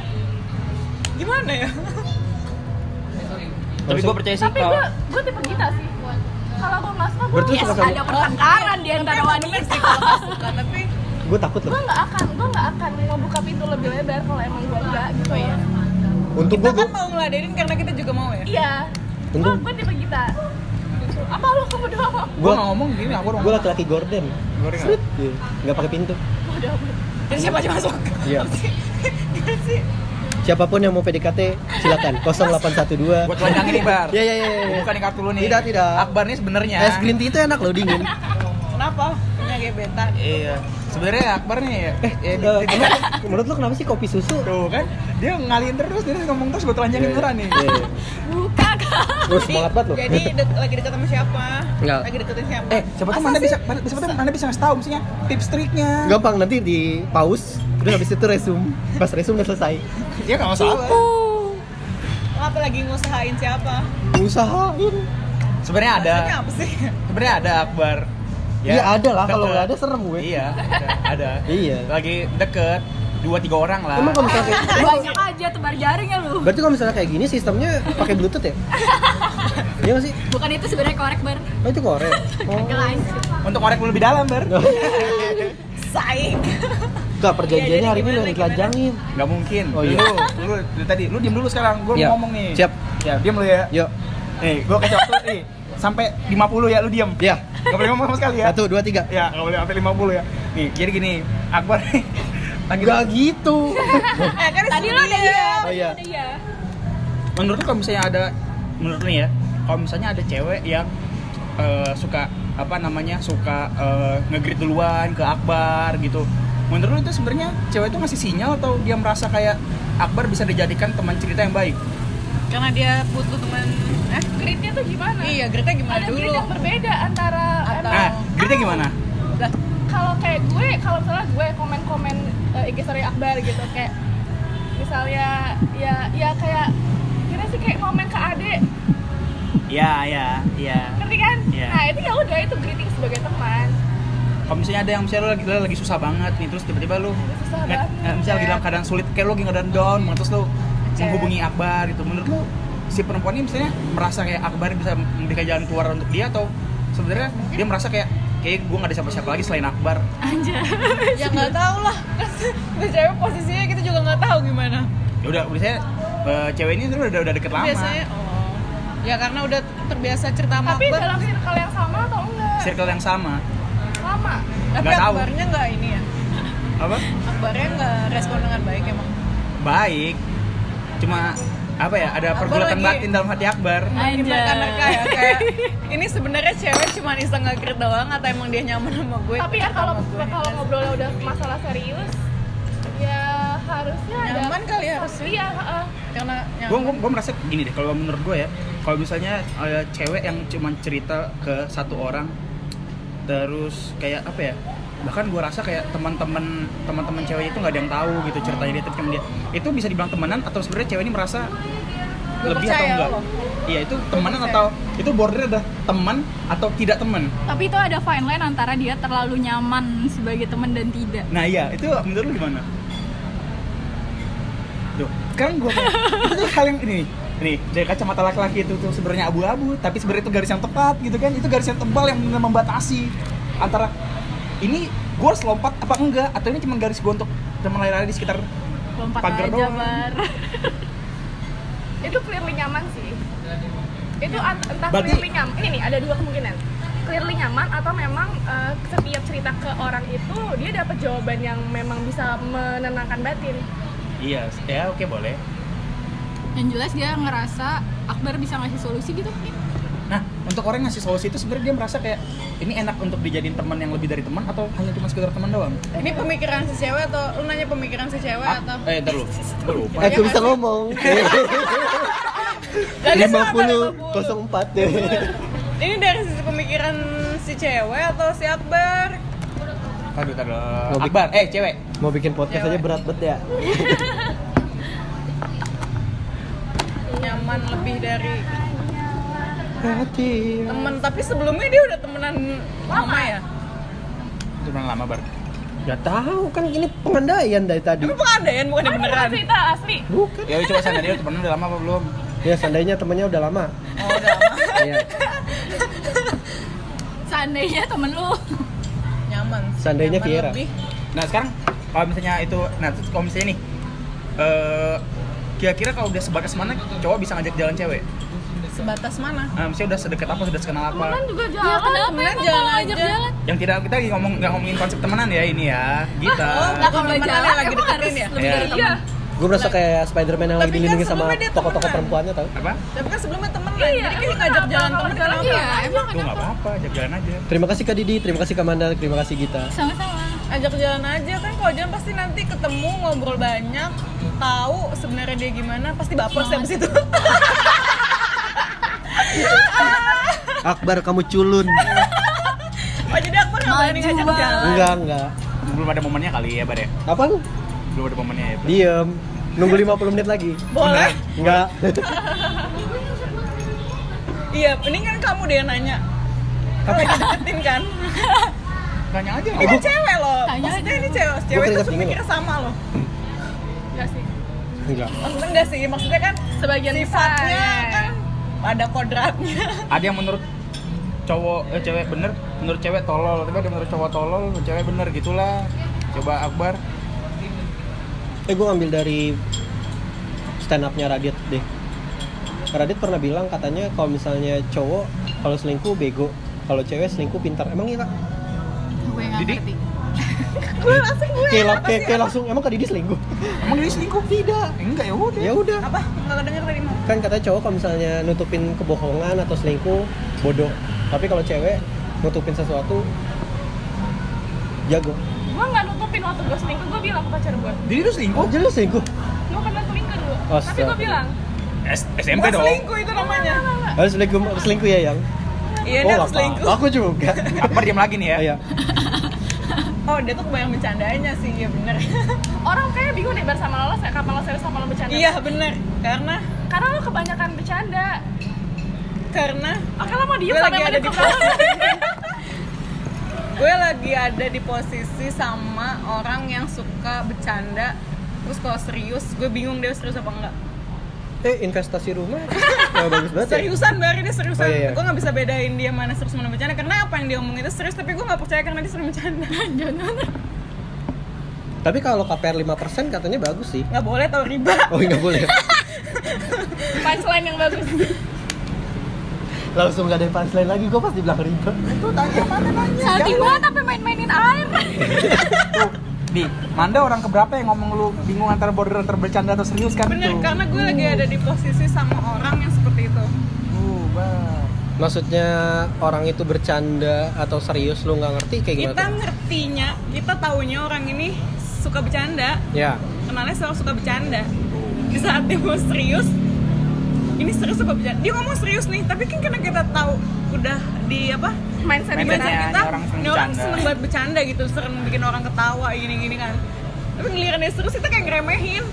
Speaker 4: Gimana ya?
Speaker 2: Tapi gua percaya sih
Speaker 3: tapi
Speaker 2: kalau
Speaker 3: gue gue tipe kita sih kalau gue nggak suka gue
Speaker 1: Berarti lu
Speaker 5: Yes,
Speaker 1: suka sama
Speaker 5: ada Oh, pertengkaran di antara wanita.
Speaker 4: Bukan, tapi
Speaker 1: Gue takut
Speaker 3: gue
Speaker 1: loh.
Speaker 3: nggak akan gue nggak akan ngebuka pintu lebih lebar kalau emang gue nggak gitu
Speaker 4: Iya.
Speaker 3: ya
Speaker 1: Untuk
Speaker 4: kita
Speaker 1: gue
Speaker 4: kan mau ngeladenin karena kita juga mau ya.
Speaker 3: iya gue
Speaker 1: Untung-
Speaker 3: gue tipe kita apa lu kamu bodoh amat
Speaker 2: gua
Speaker 1: gue
Speaker 2: nggak ngomong gini, aku
Speaker 1: gue laki-laki Gordon.
Speaker 2: Gordon.
Speaker 1: Slit. Iya. Nggak pakai pintu.
Speaker 3: bodoh amat
Speaker 4: Jadi siapa aja masuk?
Speaker 1: Iya.
Speaker 2: Iya
Speaker 4: Gimana sih?
Speaker 1: Siapapun yang mau PDKT silakan 0812.
Speaker 2: Buat telanjangin nih, Bar.
Speaker 1: Iya, iya, iya, iya.
Speaker 2: Bukan ya. nih kartu lu nih.
Speaker 1: Tidak, tidak. Eh,
Speaker 2: Akbar nih sebenarnya.
Speaker 1: Es green tea itu enak loh dingin.
Speaker 4: Kenapa? Punya gebetan.
Speaker 2: Iya. Sebenarnya Akbar nih ya. Eh,
Speaker 1: Eh,
Speaker 2: tidak-
Speaker 1: emang- menurut lu kenapa sih kopi susu?
Speaker 2: Tuh kan, dia ngalihin terus, dia ngomong terus gue telanjangin
Speaker 1: Iya,
Speaker 2: orang
Speaker 1: iya,
Speaker 2: nih.
Speaker 1: iya, iya.
Speaker 5: Buka kak.
Speaker 1: Lu semangat banget lu.
Speaker 4: Jadi dek- lagi deket sama siapa?
Speaker 1: Enggak.
Speaker 4: Lagi deketin siapa?
Speaker 2: Eh, siapa tahu
Speaker 4: Masa
Speaker 2: Anda
Speaker 4: sih?
Speaker 2: bisa, mana- siapa tahu Anda bisa ngasih tahu maksudnya tips triknya.
Speaker 1: Gampang nanti di pause terus habis itu resume. Pas resume udah selesai.
Speaker 2: Iya nggak masalah.
Speaker 4: Apa lagi ngusahain siapa?
Speaker 1: Usahain.
Speaker 2: Sebenarnya ada,
Speaker 4: Maksudnya apa sih?
Speaker 2: sebenarnya ada Akbar. Ya.
Speaker 1: Iya ada lah kalau nggak ada
Speaker 2: deket.
Speaker 1: serem gue.
Speaker 2: Iya, ada. ada.
Speaker 1: Iya.
Speaker 2: Lagi deket dua tiga orang lah.
Speaker 1: Emang kalau misalnya
Speaker 5: Banyak aja tebar jaring ya lu.
Speaker 1: Berarti kalau misalnya kayak gini sistemnya pakai bluetooth ya? Iya nggak sih?
Speaker 5: bukan itu sebenarnya korek bar
Speaker 1: Oh itu korek. Oh.
Speaker 2: Untuk ngorek lu lebih dalam, Ber.
Speaker 4: Saik.
Speaker 1: Gak perjanjiannya
Speaker 4: Ya, jadi
Speaker 1: hari ini
Speaker 4: gimana,
Speaker 1: udah ditelanjangin.
Speaker 2: Gak mungkin.
Speaker 1: Oh, iya.
Speaker 2: Lu, lu, lu tadi, lu diem dulu sekarang. Gue
Speaker 1: Iya.
Speaker 2: mau ngomong nih.
Speaker 1: Siap. Iya.
Speaker 2: Ya, diem lu ya.
Speaker 1: Yuk,
Speaker 2: Nih, gue kasih waktu nih. Sampai 50 ya, lu diem.
Speaker 1: ya.
Speaker 2: Gak boleh ngomong sama sekali ya.
Speaker 1: Satu, dua, tiga.
Speaker 2: Ya, gak boleh sampai 50 ya. Nih, jadi gini, Akbar nih. Lagi
Speaker 1: Gak gitu.
Speaker 4: Eh, kan
Speaker 5: tadi lo udah
Speaker 4: dia.
Speaker 5: diam
Speaker 1: Oh iya.
Speaker 5: udah iya
Speaker 2: menurut lu kalau misalnya ada menurut lu nih ya kalau misalnya ada cewek yang eh, suka apa namanya suka eh, nge-greet duluan ke Akbar gitu menurut lu itu sebenarnya cewek itu ngasih sinyal atau dia merasa kayak Akbar bisa dijadikan teman cerita yang baik
Speaker 4: Karena dia butuh teman. Eh,
Speaker 3: Gridnya tuh gimana?
Speaker 4: iya, Greta gimana
Speaker 3: Ada grid
Speaker 4: dulu?
Speaker 3: yang berbeda antara
Speaker 4: Atau-
Speaker 3: emang
Speaker 2: nah greetnya gimana
Speaker 4: Lah,
Speaker 3: kalau kayak gue kalau misalnya gue komen-komen eh, IG story Akbar gitu kayak misalnya ya ya kayak kira sih kayak komen ke Ade
Speaker 2: ya ya ya
Speaker 3: ngerti kan?
Speaker 2: Iya.
Speaker 3: Nah itu ya udah itu greeting sebagai teman.
Speaker 2: kalau misalnya ada yang misalnya lu lagi, lu lagi susah banget nih terus tiba-tiba lu
Speaker 3: Susah
Speaker 2: nggak-
Speaker 3: banget.
Speaker 2: eh, misalnya lagi dalam keadaan sulit kayak lu lagi keadaan down banget, terus lu menghubungi Akbar gitu menurut lu si perempuan ini misalnya merasa kayak Akbar bisa memberikan jalan keluar untuk dia atau sebenarnya dia merasa kayak kayak gue gak ada siapa-siapa lagi selain Akbar
Speaker 4: ya nggak tahu lah. Bicara posisinya kita juga nggak tahu gimana.
Speaker 2: ya udah biasanya eh, cewek ini sebenarnya udah udah deket lama
Speaker 4: Biasanya oh. Ya karena udah terbiasa cerita sama
Speaker 3: Tapi
Speaker 4: Akbar.
Speaker 3: dalam circle yang sama atau enggak?
Speaker 2: circle yang sama
Speaker 3: Lama.
Speaker 4: Tapi
Speaker 2: nggak tahu.
Speaker 4: Akbarnya nggak ini ya.
Speaker 2: apa
Speaker 4: Akbarnya nggak respon dengan baik emang.
Speaker 2: baik cuma apa ya ada
Speaker 4: Akbar
Speaker 2: pergulatan
Speaker 4: lagi-
Speaker 2: batin dalam hati Akbar
Speaker 5: Anjay.
Speaker 3: Iya.
Speaker 4: Nerka-nerka ya kayak ini sebenarnya cewek cuma iseng nge-greet doang atau emang dia nyaman sama gue?
Speaker 3: Tapi ya kalau
Speaker 4: Sama gue.
Speaker 3: kalau ngobrolnya udah masalah serius, ya harusnya ada.
Speaker 4: Nyaman kali ya harusnya.
Speaker 3: Iya, heeh.
Speaker 4: karena nyaman.
Speaker 2: gue gue merasa gini deh kalau menurut gue ya kalau misalnya ada cewek yang cuma cerita ke satu orang terus kayak apa ya bahkan gue rasa kayak teman-teman teman-teman cewek itu nggak ada yang tahu gitu ceritanya dia tapi cuma dia itu bisa dibilang temenan atau sebenarnya cewek ini merasa
Speaker 4: Gua
Speaker 2: lebih atau
Speaker 4: percaya
Speaker 2: enggak
Speaker 4: lo.
Speaker 2: iya itu temenan
Speaker 4: percaya.
Speaker 2: atau itu bordernya udah teman atau tidak teman
Speaker 5: tapi itu ada fine line antara dia terlalu nyaman sebagai teman dan tidak
Speaker 2: nah iya itu menurut lu gimana Duh, sekarang gue itu hal yang ini nih. Nih, dari kacamata laki-laki itu tuh sebenarnya abu-abu, tapi sebenarnya itu garis yang tepat gitu kan. Itu garis yang tebal yang benar membatasi antara ini gue harus lompat apa enggak atau ini cuma garis gue untuk teman lain-lain di sekitar
Speaker 5: lompat
Speaker 2: Pagar
Speaker 5: aja
Speaker 2: doang.
Speaker 5: bar
Speaker 3: itu clearly nyaman sih. Itu an- entah
Speaker 2: Berarti-
Speaker 3: clearly nyaman. Ini nih ada dua kemungkinan. Clearly nyaman atau memang eh, setiap cerita ke orang itu dia dapat jawaban yang memang bisa menenangkan batin.
Speaker 2: Iya, ya oke boleh.
Speaker 5: yang jelas dia ngerasa Akbar bisa ngasih solusi gitu
Speaker 2: Nah, untuk orang yang ngasih solusi itu sebenarnya dia merasa kayak ini enak untuk dijadiin teman yang lebih dari teman atau hanya cuma sekedar teman doang?
Speaker 4: Ini pemikiran si cewek atau lu nanya pemikiran si cewek
Speaker 2: Ah,
Speaker 4: atau
Speaker 2: eh, ntar lu. Gua lupa.
Speaker 1: Eh, aku bisa ngomong.
Speaker 4: Jadi
Speaker 1: Iya. Lima
Speaker 4: sama
Speaker 1: puluh
Speaker 4: 50.
Speaker 1: kosong empat deh.
Speaker 4: Ini dari sisi pemikiran si cewek atau si Akbar?
Speaker 2: Aduh, ntar dulu.
Speaker 1: Ngobik.
Speaker 2: Akbar, eh cewek.
Speaker 1: Mau bikin podcast aja berat banget ya.
Speaker 4: Nyaman lebih dari
Speaker 1: Hati.
Speaker 4: temen tapi sebelumnya dia udah temenan lama ya?
Speaker 2: Cuma lama bar.
Speaker 1: Gak tahu kan ini pengandaian dari tadi.
Speaker 4: Tapi pengadaian bukan yang beneran.
Speaker 3: Cerita asli.
Speaker 1: Bukan.
Speaker 2: Ya udah coba sana dia temennya udah lama apa belum?
Speaker 1: Ya seandainya temennya udah lama.
Speaker 4: Oh, udah lama.
Speaker 1: Iya.
Speaker 5: seandainya temen lu
Speaker 4: Nyaman.
Speaker 1: Seandainya
Speaker 4: Nyaman
Speaker 1: Viera.
Speaker 4: lebih.
Speaker 2: Nah sekarang kalau misalnya itu, nah terus kalau misalnya nih, eh, kira-kira kalau udah sebatas mana cowok bisa ngajak jalan cewek?
Speaker 4: Sebatas mana?
Speaker 2: Nah, misalnya udah sedekat apa, sudah sekenal apa?
Speaker 3: Kan juga jalan.
Speaker 5: ya kenapa
Speaker 4: temenan jalan
Speaker 5: emang kalau ngajak
Speaker 4: aja.
Speaker 5: jalan
Speaker 2: Yang tidak kita lagi ngomong nggak ngomongin konsep temenan ya ini ya, kita.
Speaker 4: Oh, nggak kalau
Speaker 5: Kalau
Speaker 4: temenan
Speaker 5: jalan
Speaker 4: lagi
Speaker 5: emang
Speaker 4: deketin
Speaker 5: harus
Speaker 4: ya?
Speaker 5: lebih
Speaker 2: Iya.
Speaker 5: dari temen.
Speaker 1: Gue merasa kayak Spiderman yang lagi
Speaker 4: Tapi kan
Speaker 1: dilindungi sama
Speaker 4: sebelumnya dia
Speaker 1: tokoh-tokoh
Speaker 4: temenan.
Speaker 1: perempuannya tau.
Speaker 2: Apa?
Speaker 4: Tapi kan sebelumnya temenan.
Speaker 3: Iya,
Speaker 4: Jadi kayak
Speaker 3: emang
Speaker 4: ngajak
Speaker 3: kenapa?
Speaker 4: jalan
Speaker 3: Kalau
Speaker 4: temen
Speaker 3: jalan
Speaker 4: kenapa?
Speaker 5: iya emang
Speaker 2: Tuh nggak
Speaker 5: kenapa
Speaker 2: apa-apa, ajak jalan aja.
Speaker 1: Terima kasih Kak Didi, terima kasih Kak Mandal, terima kasih Gita.
Speaker 5: sama-sama
Speaker 4: ajak jalan aja kan kalau jalan pasti nanti ketemu ngobrol banyak tahu sebenarnya dia gimana pasti baper sih abis itu
Speaker 1: Akbar kamu culun.
Speaker 4: oh jadi aku nggak berani
Speaker 5: Maju
Speaker 4: ngajak
Speaker 5: banget.
Speaker 4: jalan
Speaker 1: Enggak, enggak.
Speaker 2: Belum ada momennya kali ya, Bar ya?
Speaker 1: Apa lu?
Speaker 2: Belum ada momennya ya. Bar?
Speaker 1: Diem. Nunggu 50 menit lagi.
Speaker 4: boleh
Speaker 1: Enggak.
Speaker 4: iya mendingan kamu deh yang nanya kalau yang deketin kan
Speaker 2: Tanya aja.
Speaker 4: ini cewek loh
Speaker 5: Tanya
Speaker 4: maksudnya
Speaker 5: aja.
Speaker 4: ini cewek cewek itu
Speaker 1: keringat dingin
Speaker 4: pemikir sama loh
Speaker 3: Enggak sih.
Speaker 1: enggak
Speaker 4: maksudnya enggak sih maksudnya kan
Speaker 3: Sebagian
Speaker 5: Iya,
Speaker 4: sifatnya
Speaker 3: besar, ya.
Speaker 4: kan ada kodratnya
Speaker 2: ada yang menurut cowok eh, cewek bener menurut cewek tolol tapi ada yang menurut cowok tolol menurut cewek bener gitulah coba Akbar
Speaker 1: eh gue ambil dari stand upnya Radit deh Radit pernah bilang katanya kalau misalnya cowok kalau selingkuh bego kalau cewek selingkuh pintar emang iya kak
Speaker 5: gue nggak
Speaker 2: Didi?
Speaker 5: ngerti
Speaker 4: gue langsung gue
Speaker 1: kayak la- kayak- kayak langsung emang kak Didi selingkuh
Speaker 2: emang dia selingkuh tidak enggak ya udah
Speaker 4: Iya.
Speaker 1: ya udah
Speaker 4: apa nggak kedenger tadi mau
Speaker 1: kan katanya cowok kalau misalnya nutupin kebohongan atau selingkuh bodoh tapi kalau cewek nutupin sesuatu jago
Speaker 3: gue nggak nutupin waktu gue selingkuh gue bilang ke pacar gue
Speaker 2: jadi lu
Speaker 1: oh
Speaker 2: selingkuh
Speaker 1: jadi lu selingkuh
Speaker 3: gue pernah selingkuh dulu tapi
Speaker 1: Astaga.
Speaker 3: gue bilang
Speaker 2: S- SMP
Speaker 4: Gua
Speaker 2: dong
Speaker 4: selingkuh itu
Speaker 5: Iya,
Speaker 4: namanya
Speaker 1: harus selingkuh selingkuh ya yang
Speaker 4: iya dia
Speaker 1: nggak
Speaker 4: harus selingkuh
Speaker 1: apa-apa. aku juga
Speaker 2: Akbar diam lagi nih ya
Speaker 1: Iya.
Speaker 4: oh dia tuh kebayang bercandanya sih iya bener
Speaker 3: orang kayak bingung deh bersama lo kapan lo serius sama lo bercanda
Speaker 4: iya bener karena
Speaker 3: karena lo kebanyakan bercanda
Speaker 4: karena
Speaker 3: oke lo mau diem
Speaker 4: Gue
Speaker 3: sampai
Speaker 4: lagi ada
Speaker 3: menit
Speaker 4: di
Speaker 3: keberapa
Speaker 4: gue lagi ada di posisi sama orang yang suka bercanda terus kalau serius gue bingung dia serius apa enggak
Speaker 1: eh investasi rumah ya, bagus banget ya.
Speaker 4: seriusan Bari dia seriusan
Speaker 1: Oh, iya, iya.
Speaker 4: gue nggak bisa bedain dia mana serius mana bercanda karena apa yang dia omongin itu serius tapi gue nggak percaya karena dia sering bercanda
Speaker 1: tapi kalau KPR 5% katanya bagus sih
Speaker 4: nggak boleh tau riba
Speaker 1: oh nggak boleh
Speaker 3: punchline yang bagus
Speaker 1: langsung gak ada yang punchline lagi gue pasti bilang riba
Speaker 5: sakit banget apa main-mainin air
Speaker 2: di Manda orang keberapa yang ngomong lu bingung antara border antara bercanda atau serius kan
Speaker 4: bener
Speaker 2: tuh
Speaker 4: karena gue lagi ada di posisi sama orang yang seperti itu
Speaker 2: Uh, bah.
Speaker 1: maksudnya orang itu bercanda atau serius lu nggak ngerti kayak gimana
Speaker 4: kita
Speaker 1: tuh?
Speaker 4: ngertinya kita taunya orang ini suka bercanda
Speaker 1: ya
Speaker 4: kenalnya selalu suka bercanda di saat dia mau serius ini serius apa bercanda dia ngomong serius nih tapi kan karena kita tahu udah di apa
Speaker 3: mindset
Speaker 2: Mindset.
Speaker 3: gimana
Speaker 4: di mindset
Speaker 2: Biasanya
Speaker 4: kita
Speaker 2: ya, orang seneng
Speaker 4: ini orang
Speaker 2: bercanda.
Speaker 4: seneng banget bercanda gitu sering bikin orang ketawa gini gini kan tapi ngeliran dia serius kita kayak ngeremehin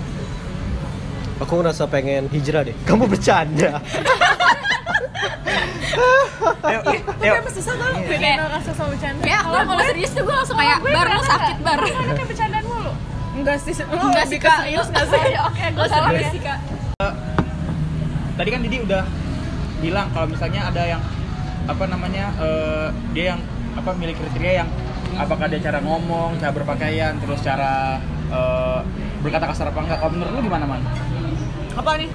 Speaker 1: aku ngerasa pengen hijrah deh kamu bercanda
Speaker 2: Ayo,
Speaker 4: tapi
Speaker 2: ayo.
Speaker 4: apa susah tau bedain orang serius sama bercanda
Speaker 3: Iya,
Speaker 5: kayak Akbar kalau serius tuh gue langsung kayak bar lu sakit bar
Speaker 3: anaknya bercandaan mulu
Speaker 4: enggak sih lo
Speaker 5: Enggak sih, Oh,
Speaker 4: lebih ke
Speaker 5: Kak.
Speaker 4: serius nggak sih
Speaker 3: Iya, oke gue salah ya
Speaker 2: Tadi kan Didi udah bilang kalau misalnya ada yang apa namanya eh, dia yang apa milik kriteria yang apakah dia cara ngomong, cara berpakaian, terus cara eh, berkata kasar apa enggak. Kalau menurut lu gimana, Man?
Speaker 4: apa nih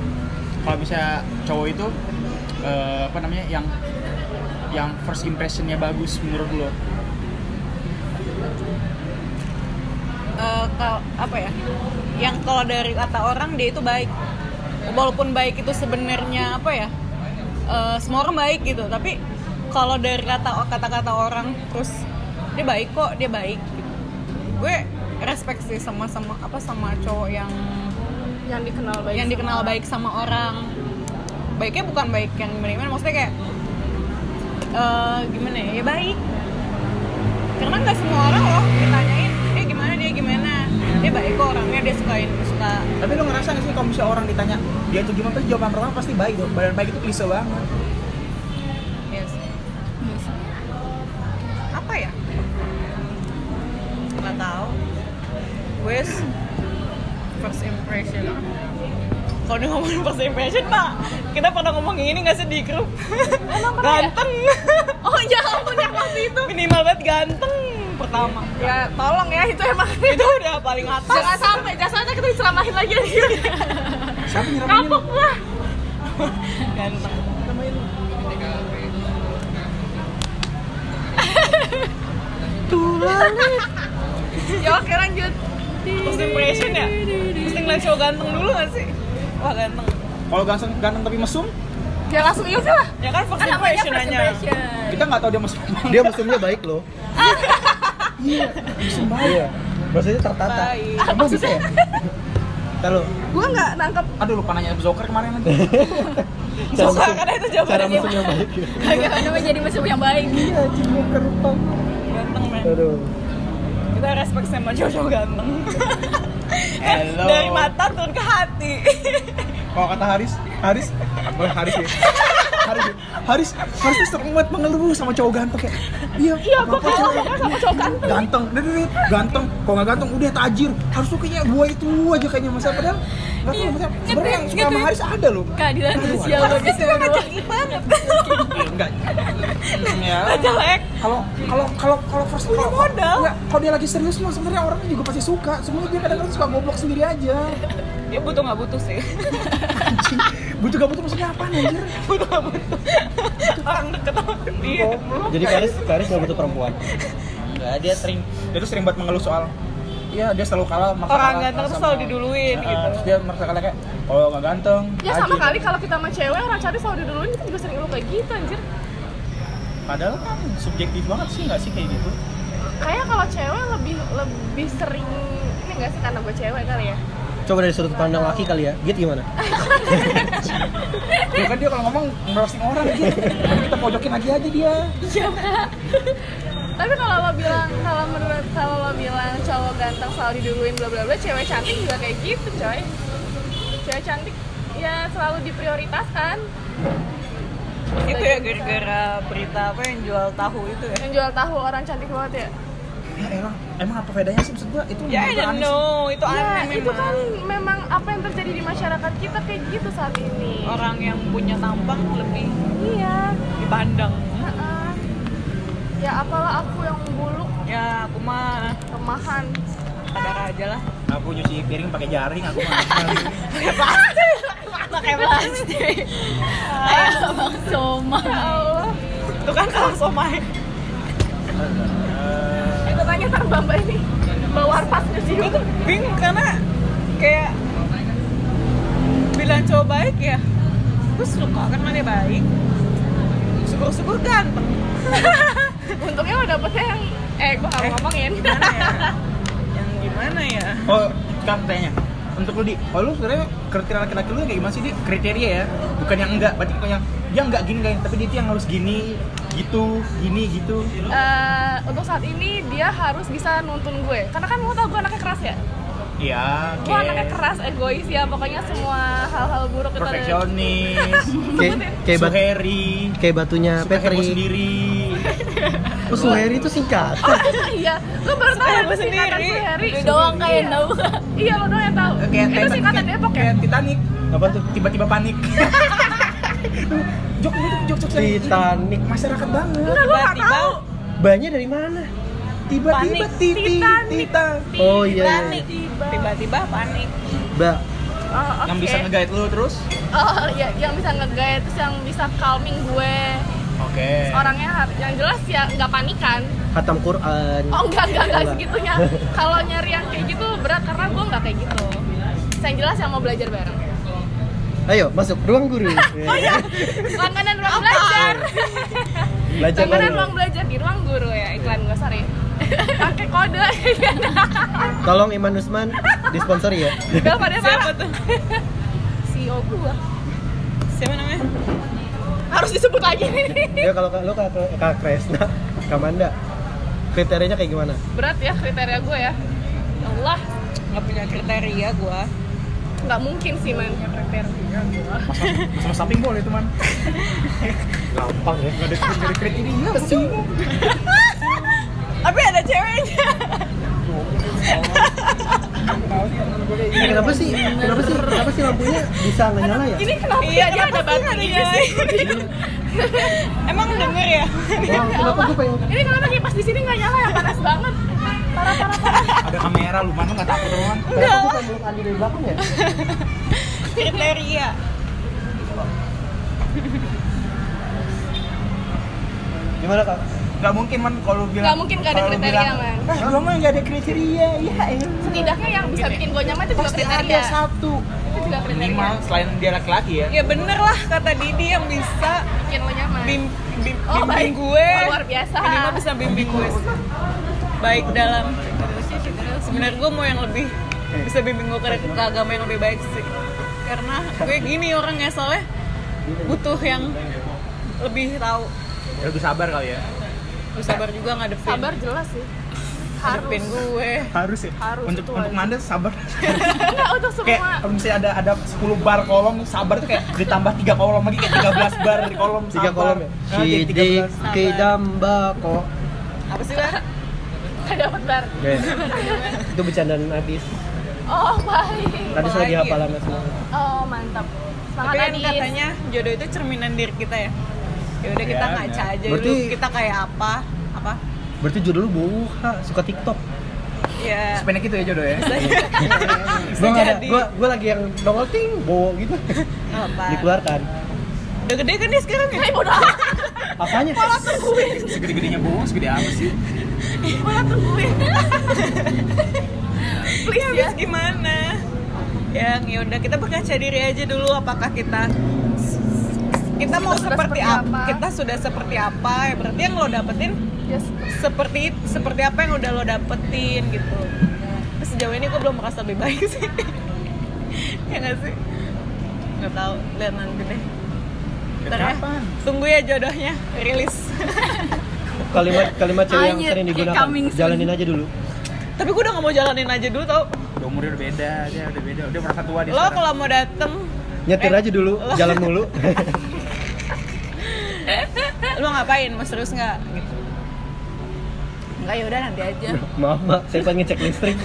Speaker 2: Kalau bisa cowok itu eh, apa namanya yang yang first impressionnya bagus menurut lo?
Speaker 4: Eh, kalau apa ya yang kalau dari kata orang dia itu baik walaupun baik itu sebenarnya apa ya eh, semua orang baik gitu tapi kalau dari kata kata-kata orang terus dia baik kok dia baik gitu. gue respect sih sama sama apa sama cowok yang
Speaker 3: yang dikenal baik
Speaker 4: yang dikenal baik sama orang baiknya bukan baik yang gimana gimana maksudnya kayak eh, gimana ya ya baik karena nggak semua orang loh ditanyain dia gimana dia gimana dia baik kok orangnya dia sukain suka
Speaker 2: Tapi lo ngerasa nggak sih kalau misalnya orang ditanya dia tuh gimana, terus jawaban pertama pasti baik dong. Badan baik itu klise banget.
Speaker 4: ya apa ya nggak tahu gue s- first impression kalau dia ngomongin first impression pak kita pernah ngomong ini nggak sih di grup
Speaker 3: ya?
Speaker 4: ganteng oh
Speaker 3: iya,
Speaker 4: ya ampun yang waktu itu minimal banget ganteng pertama
Speaker 3: ya tolong ya itu emang
Speaker 4: itu udah paling atas
Speaker 3: jangan sampai jangan sampai kita diceramahin lagi
Speaker 5: Iya,
Speaker 2: Siapa nyeramahin
Speaker 3: kapok lah
Speaker 4: ganteng
Speaker 3: ya oke lanjut
Speaker 4: first impression ya mesti ngeliat cowok ganteng dulu nggak sih wah ganteng
Speaker 2: Kalau ganteng, ganteng tapi mesum,
Speaker 3: ya langsung iya sih lah
Speaker 4: ya kan first
Speaker 3: kan namanya
Speaker 4: impression
Speaker 3: first
Speaker 4: aja
Speaker 3: impression
Speaker 2: kita nggak tahu dia mesum.
Speaker 1: dia musuhnya baik loh iya musuh baik iya maksudnya tertata
Speaker 4: Baik.
Speaker 1: kamu bisa ya kalau
Speaker 3: gue nggak nangkep
Speaker 2: Aduh lupa nanya Joker kemarin lagi.
Speaker 1: cara
Speaker 4: Suka, karena kan
Speaker 1: musuh-
Speaker 4: itu
Speaker 1: cara
Speaker 4: jawabannya.
Speaker 1: musuhnya baik ya.
Speaker 5: bagaimana menjadi Iya, musuh yang baik
Speaker 4: ganteng men
Speaker 1: aduh
Speaker 4: kita respect sama cowok-cowok ganteng Kan
Speaker 2: Hello.
Speaker 4: dari mata turun ke hati
Speaker 2: Kalau kata Haris, Haris, boleh Haris ya. Haris Haris Haris tuh sering banget mengeluh sama cowok ganteng kayak iya
Speaker 3: Iya, gua
Speaker 2: apa-apa
Speaker 3: kalah
Speaker 2: cewek.
Speaker 3: pokoknya sama cowok ganteng.
Speaker 2: ganteng dudut ganteng kalau nggak ganteng udah tajir harus tuh kayaknya gua itu aja kayaknya masa padahal nggak tahu,
Speaker 5: Iya,
Speaker 2: masa-
Speaker 5: ngetik,
Speaker 2: sebenarnya yang suka sama
Speaker 5: ngetik.
Speaker 2: Haris ada loh
Speaker 5: keadilan sosial gitu. bagi semua
Speaker 4: banget
Speaker 2: Iya, enggak Hmm, ya
Speaker 4: jelek
Speaker 2: kalau kalau kalau kalau first
Speaker 4: Punya
Speaker 2: kalau-
Speaker 4: modal.
Speaker 2: enggak, kalau dia lagi serius mah sebenarnya orangnya juga pasti suka sebenarnya dia kadang-kadang suka goblok sendiri aja
Speaker 4: dia butuh nggak butuh sih
Speaker 2: anjing butuh gak butuh maksudnya apa anjir
Speaker 4: butuh nggak butuh orang deket sama dia
Speaker 1: Jadi Karis Karis nggak butuh perempuan.
Speaker 2: Enggak, dia sering dia tuh sering buat mengeluh soal Iya, dia selalu kalah maksa
Speaker 4: Orang
Speaker 2: kalah
Speaker 4: ganteng tuh
Speaker 2: sama-
Speaker 4: selalu diduluin,
Speaker 2: Heeh,
Speaker 1: Ah,
Speaker 4: gitu.
Speaker 2: terus dia merasa kalah kayak kalau nggak ganteng
Speaker 3: Ya sama
Speaker 2: tajir.
Speaker 3: kali kalau kita sama cewek orang cari selalu diduluin kita juga sering ngeluh kayak gitu anjir.
Speaker 2: padahal kan subjektif banget sih nggak sih kayak gitu
Speaker 3: Kayak kalau cewek lebih lebih sering ini enggak sih karena gue cewek kali ya.
Speaker 1: Coba dari sudut pandang laki kali ya. Git gimana?
Speaker 2: ya kan dia kalau ngomong merosting orang gitu Tapi kita pojokin lagi aja dia
Speaker 3: Tapi kalau lo bilang kalau menurut kalau lo bilang cowok ganteng selalu diduluin bla bla bla, cewek cantik juga kayak gitu, coy. Cewek cantik ya selalu diprioritaskan.
Speaker 4: itu ya gara-gara berita apa yang jual tahu itu ya
Speaker 3: Yang jual tahu orang cantik banget ya.
Speaker 2: ya elah emang apa bedanya sih maksud gua itu
Speaker 4: ya
Speaker 2: menurut gua
Speaker 4: I don't
Speaker 2: aneh sih.
Speaker 4: know itu
Speaker 3: Ya,
Speaker 4: aneh
Speaker 3: itu kan
Speaker 4: memang
Speaker 3: memang apa yang terjadi di masyarakat kita kayak gitu saat ini.
Speaker 4: orang yang punya tampang lebih
Speaker 3: Iya.
Speaker 4: dipandang
Speaker 3: heeh. Ya apalah aku yang buluk
Speaker 4: ya aku mah
Speaker 3: remahan.
Speaker 4: ada aja lah
Speaker 2: aku nyuci piring pakai jaring aku mah
Speaker 4: pakai plastik
Speaker 5: Bang Soma
Speaker 3: Ya Allah.
Speaker 4: itu kan kalau somai
Speaker 3: Itu tanya ntar Bamba ini bawa pas
Speaker 4: gue
Speaker 3: museum.
Speaker 4: tuh bingung karena kayak bilang cowok baik ya gue suka karena dia baik syukur-syukur ganteng
Speaker 3: Untungnya lo dapetnya yang eh gua gak mau
Speaker 4: Eh,
Speaker 3: ngomongin.
Speaker 4: gimana ya yang gimana ya
Speaker 2: oh kan tanya untuk lu di oh lu sebenarnya kriteria laki-laki lu kayak gimana sih di kriteria ya bukan yang enggak berarti bukan yang dia enggak gini guys tapi dia tuh yang harus gini gitu gini gitu
Speaker 3: Eh, untuk saat ini dia harus bisa nuntun gue karena kan lo tau gue anaknya keras ya
Speaker 2: iya oke
Speaker 3: gue anaknya keras egois ya pokoknya semua hal-hal buruk itu ada
Speaker 2: perfeksionis
Speaker 1: Kayak kayak bat-
Speaker 2: suheri
Speaker 1: kayak batunya
Speaker 2: suka heboh
Speaker 1: Petri.
Speaker 2: sendiri
Speaker 1: Oh, Suheri itu singkat.
Speaker 3: iya gue baru tahu
Speaker 4: Saya
Speaker 3: itu singkatan
Speaker 4: sendiri.
Speaker 3: sehari
Speaker 4: Gue
Speaker 5: doang
Speaker 2: kan
Speaker 5: kayak tahu
Speaker 3: iya lo doang yang tahu
Speaker 2: kayak
Speaker 3: itu
Speaker 2: Titan-
Speaker 3: singkatan
Speaker 2: kayak-
Speaker 3: Depok ya
Speaker 2: kayak Titanic apa tuh tiba-tiba panik jok itu jok jok
Speaker 1: Titanic.
Speaker 2: masyarakat banget
Speaker 3: enggak gue gak
Speaker 4: Tiba-tiba
Speaker 3: tahu
Speaker 1: Bannya dari mana?
Speaker 2: tiba-tiba
Speaker 4: Panik.
Speaker 2: titi
Speaker 3: Titanic.
Speaker 2: tita
Speaker 1: Oh iya. iya.
Speaker 4: panik tiba-tiba panik
Speaker 1: Ba.
Speaker 3: oh, oke
Speaker 2: yang bisa nge-guide lu terus
Speaker 3: oh iya yang bisa nge-guide terus yang bisa calming gue
Speaker 2: oke
Speaker 3: orangnya har- yang jelas ya nggak panikan
Speaker 1: Hatam Quran.
Speaker 3: oh enggak enggak enggak segitunya kalau nyari yang kayak gitu berat karena gue nggak kayak gitu yang jelas yang mau belajar bareng
Speaker 1: Ayo masuk ruang guru.
Speaker 3: langganan ruang belajar
Speaker 1: Belajar
Speaker 3: langganan
Speaker 1: dulu.
Speaker 3: ruang belajar di ruang guru ya iklan gue sorry pakai kode
Speaker 1: Tolong Iman Usman disponsori ya.
Speaker 3: gak pada E
Speaker 4: siapa
Speaker 3: marah
Speaker 4: tuh
Speaker 3: CEO gue
Speaker 4: siapa namanya
Speaker 3: harus disebut lagi nih
Speaker 1: Ya kalau Kak- lu Kak, Kak Kresna, Kamanda. Kriterianya kayak gimana?
Speaker 3: berat ya kriteria gue ya Ya Allah
Speaker 4: nggak punya kriteria gua
Speaker 3: nggak mungkin sih man kriteria gue
Speaker 2: sama samping boleh teman
Speaker 1: Gampang ya.
Speaker 2: nggak ada nggak ada kredit ini ya sih
Speaker 4: tapi ada ceweknya
Speaker 1: Kenapa sih? Kenapa sih? Kenapa sih lampunya bisa nggak nyala ya?
Speaker 3: ini kenapa ya?
Speaker 4: iya dia ada batunya emang denger ya
Speaker 1: Wah, kenapa gue pengen
Speaker 3: ini kenapa kipas di sini nggak nyala ya panas banget parah parah parah
Speaker 2: ada kamera lu mana nggak takut teman
Speaker 1: Kenapa gue pengen meluk Andi dari belakang ya?
Speaker 4: kriteria
Speaker 1: Gimana kak?
Speaker 2: nggak mungkin man kalau lu bilang
Speaker 3: Nggak mungkin nggak ada
Speaker 2: kalau lu
Speaker 3: kriteria,
Speaker 2: bilang,
Speaker 3: Man.
Speaker 2: "Ah, lu mah nggak ada kriteria ya
Speaker 3: setidaknya yang bisa bikin gue nyaman itu juga
Speaker 2: pasti ada
Speaker 3: kriteria
Speaker 2: satu
Speaker 3: itu juga kriteria
Speaker 2: minimal selain dia laki-laki ya
Speaker 4: ya bener lah kata Didi yang bisa
Speaker 3: bikin lo nyaman
Speaker 4: bim, bim,
Speaker 3: Oh,
Speaker 4: bimbing
Speaker 3: baik.
Speaker 4: gue
Speaker 3: Oh, luar biasa.
Speaker 4: minimal bisa bimbing gue baik dalam sebenarnya gue mau yang lebih bisa bimbing gue ke, ke agama yang lebih baik sih karena gue gini orangnya soalnya butuh yang lebih tahu
Speaker 2: Ya, lebih sabar kali ya
Speaker 4: Gue sabar juga ngadepin
Speaker 3: sabar jelas sih
Speaker 4: harapin gue
Speaker 2: harus ya
Speaker 3: Harus,
Speaker 2: untuk
Speaker 3: itu
Speaker 2: untuk
Speaker 3: wajib.
Speaker 2: anda sabar
Speaker 3: Enggak untuk
Speaker 2: kayak
Speaker 3: semua.
Speaker 2: kalau misalnya ada ada 10 bar kolom sabar tuh kayak ditambah 3 kolom lagi kayak 13 bar di kolom
Speaker 1: tiga
Speaker 2: sabar.
Speaker 1: kolom ya
Speaker 2: Ah, jadi
Speaker 1: sidik
Speaker 2: 13.
Speaker 1: kidambako
Speaker 4: apa sih bar
Speaker 3: Gak dapat bar.
Speaker 1: itu bercandaan habis
Speaker 3: Oh, baik.
Speaker 1: tadi saya lagi
Speaker 4: Apalagi
Speaker 1: hafal
Speaker 4: ya?
Speaker 1: sama semua
Speaker 3: Oh, mantap. Semangat
Speaker 4: tapi kan
Speaker 3: Adis.
Speaker 4: katanya jodoh itu cerminan diri kita ya ya udah kita
Speaker 2: Ya,
Speaker 4: ngaca
Speaker 2: ya.
Speaker 4: aja dulu
Speaker 1: Berarti-
Speaker 4: kita kayak apa apa
Speaker 1: berarti judul lu buha suka tiktok
Speaker 4: ya
Speaker 2: Sependek itu ya jodoh ya.
Speaker 1: gue ada
Speaker 4: jadi.
Speaker 1: gue gue lagi yang nongol ting bo gitu
Speaker 4: apa
Speaker 1: dikeluarkan
Speaker 4: udah gede kan dia sekarang ya
Speaker 3: Hai, bodoh amat.
Speaker 1: apanya
Speaker 2: Segede-gedenya bohong, segede apa sih?
Speaker 3: Bodoh tungguin.
Speaker 4: please Iya,
Speaker 3: Ya.
Speaker 4: habis gimana yang ya udah kita berkaca diri aja dulu apakah kita kita mau
Speaker 3: sudah
Speaker 4: seperti
Speaker 3: seperti
Speaker 4: apa
Speaker 3: apa?
Speaker 4: kita sudah seperti apa ya berarti yang lo dapetin
Speaker 3: Yes.
Speaker 4: seperti seperti apa yang udah lo dapetin gitu Terus sejauh ini gue belum merasa lebih baik sih ya nggak sih nggak tahu lihat nanti deh Ntar ya.
Speaker 2: Kapan?
Speaker 4: tunggu ya jodohnya rilis
Speaker 1: kalimat kalimat cewek yang
Speaker 5: Anjir,
Speaker 1: sering
Speaker 5: kayak
Speaker 1: digunakan
Speaker 5: coming soon.
Speaker 1: jalanin aja dulu
Speaker 4: tapi gue udah nggak mau jalanin aja dulu tau
Speaker 2: Udah umurnya udah beda, dia udah beda, udah merasa tua dia.
Speaker 4: lo
Speaker 2: sekarang.
Speaker 4: kalau mau dateng
Speaker 1: nyetir
Speaker 4: Eh,
Speaker 1: aja dulu jalan mulu
Speaker 4: lo ngapain mau serius nggak gitu nggak ya udah nanti aja
Speaker 1: maaf mak saya pengen ngecek listrik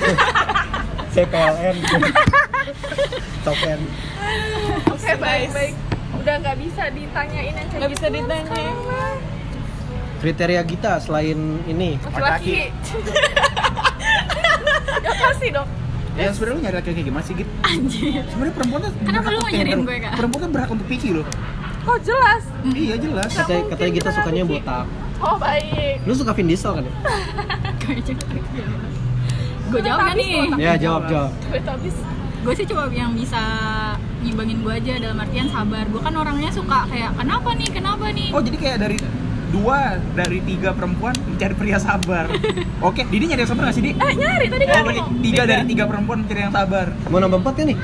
Speaker 1: saya PLN token
Speaker 3: Oke,
Speaker 4: Gitu,
Speaker 3: baik-baik. Udah nggak bisa ditanyain yang kayak
Speaker 4: nggak bisa
Speaker 3: gitu.
Speaker 4: ditanya
Speaker 1: kriteria kita selain ini
Speaker 3: Laki-laki. ya kasih dong.
Speaker 2: Ya sebenarnya lu nyari laki-laki kayak gimana sih gitu? Anjir. Sebenarnya perempuan tuh
Speaker 5: Kenapa
Speaker 2: berhak
Speaker 5: lu
Speaker 2: untuk
Speaker 5: nyariin
Speaker 2: yang-
Speaker 5: gue, Kak?
Speaker 2: Perempuan kan berhak untuk picky loh.
Speaker 3: Oh, jelas.
Speaker 2: Iya jelas.
Speaker 1: katanya
Speaker 3: mungkin
Speaker 1: katanya kita
Speaker 3: kenapa
Speaker 1: sukanya
Speaker 5: Iya.
Speaker 3: sih?
Speaker 1: botak
Speaker 3: Oh, baik.
Speaker 1: lu suka Vin Diesel kan ya?
Speaker 5: gue jawab nggak gitu. nih
Speaker 1: ya jawab jawab
Speaker 3: Gue habis.
Speaker 5: gue sih cuma yang bisa ngimbangin gue aja dalam artian sabar gue kan orangnya suka kayak kenapa nih kenapa nih
Speaker 2: Oh jadi kayak dari dua dari tiga perempuan mencari pria sabar. Oke, Didi nyari yang sabar nggak sih, Di?
Speaker 3: Eh, nyari tadi
Speaker 2: Oh,
Speaker 3: kan.
Speaker 2: berarti tiga dari tiga perempuan mencari yang sabar.
Speaker 1: mau nambah empat ya nih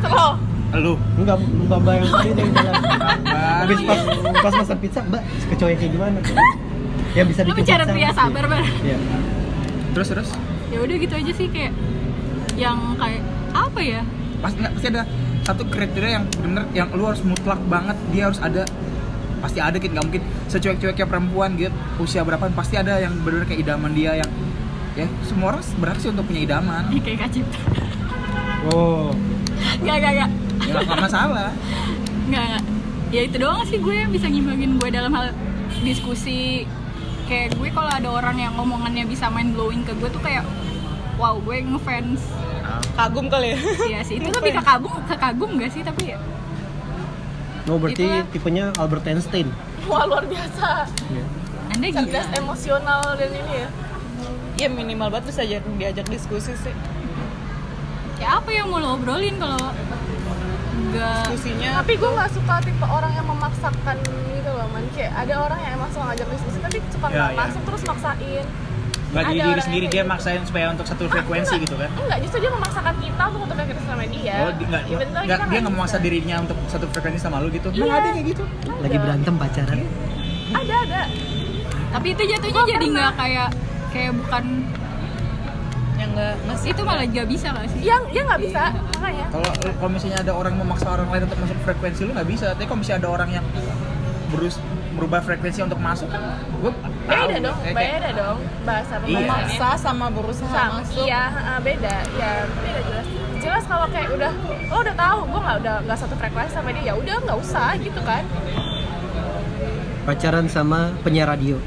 Speaker 3: Selo.
Speaker 2: Lu
Speaker 1: enggak mbak mbak yang tadi yang jalan
Speaker 2: sabar.
Speaker 1: habis pas pas pesan pizza mbak suka cowok yang kayak gimana ya bisa
Speaker 5: lu
Speaker 1: bikin
Speaker 5: bicara
Speaker 1: pizza.
Speaker 5: pria sabar bar
Speaker 1: Iya.
Speaker 2: Terus terus.
Speaker 5: ya udah gitu aja sih kayak yang kayak apa ya
Speaker 2: Pasti nggak pasti ada satu kriteria yang bener yang lu harus mutlak banget dia harus ada pasti ada gitu nggak mungkin secuek-cueknya perempuan gitu usia berapa pasti ada yang bener kayak idaman dia yang ya semua orang berhak sih untuk punya idaman
Speaker 5: Eh, kayak kacipta
Speaker 1: oh
Speaker 5: nggak nggak
Speaker 2: ya
Speaker 5: nggak
Speaker 2: nggak masalah
Speaker 5: nggak nggak. ya itu doang sih gue yang bisa ngimbangin gue dalam hal diskusi kayak gue kalau ada orang yang omongannya bisa main blowing ke gue tuh kayak wow gue ngefans
Speaker 4: kagum kali ya
Speaker 5: iya sih itu lebih ke kagum ke kagum gak sih tapi ya
Speaker 1: no berarti
Speaker 5: Itulah.
Speaker 1: tipenya Albert Einstein
Speaker 3: Wah, luar biasa.
Speaker 5: anda gila
Speaker 3: Cerdas emosional dan ini ya.
Speaker 4: ya minimal banget bisa diajak, diajak diskusi sih
Speaker 5: ya apa yang mau lo obrolin kalau nggak
Speaker 4: diskusinya
Speaker 3: Tapi gue nggak suka tipe orang yang memaksakan gitu loh, man. Kayak ada orang yang emang suka ngajak diskusi, tapi suka
Speaker 2: Ya,
Speaker 3: nggak
Speaker 2: ya.
Speaker 3: masuk terus maksain.
Speaker 2: nggak
Speaker 3: Ada
Speaker 2: jadi
Speaker 3: orang
Speaker 2: diri
Speaker 3: yang
Speaker 2: sendiri
Speaker 3: kayak
Speaker 2: dia
Speaker 3: gitu.
Speaker 2: maksain supaya untuk satu frekuensi gitu kan
Speaker 3: Enggak, justru dia memaksakan kita untuk ketika kita sama dia.
Speaker 2: oh di- nggak
Speaker 3: Ya. Even
Speaker 2: nggak
Speaker 3: though kita
Speaker 2: dia
Speaker 3: nggak
Speaker 2: nggak memaksa
Speaker 3: bisa.
Speaker 2: dirinya untuk satu frekuensi sama lu gitu
Speaker 3: Iya.
Speaker 2: Emang ada kayak gitu
Speaker 1: lagi berantem pacaran
Speaker 3: Ada, ada.
Speaker 5: tapi itu jatuhnya jadi nggak kayak kayak bukan
Speaker 4: yang nggak masih
Speaker 5: itu malah gak bisa gak sih
Speaker 3: Yang dia nggak bisa, makanya.
Speaker 2: kalau kalau misalnya ada orang memaksa orang lain untuk masuk frekuensi lu nggak bisa tapi kalau misalnya ada orang yang berus berubah frekuensi untuk masuk kan gue
Speaker 3: Beda dong, beda dong bahasa
Speaker 2: Iya.
Speaker 3: pembahasannya.
Speaker 4: maksa sama berusaha
Speaker 3: sama
Speaker 4: masuk
Speaker 3: iya heeh, beda ya beda jelas jelas kalau kayak udah lo udah tahu gue nggak udah nggak satu frekuensi sama dia ya udah nggak usah gitu kan
Speaker 1: pacaran sama penyiar radio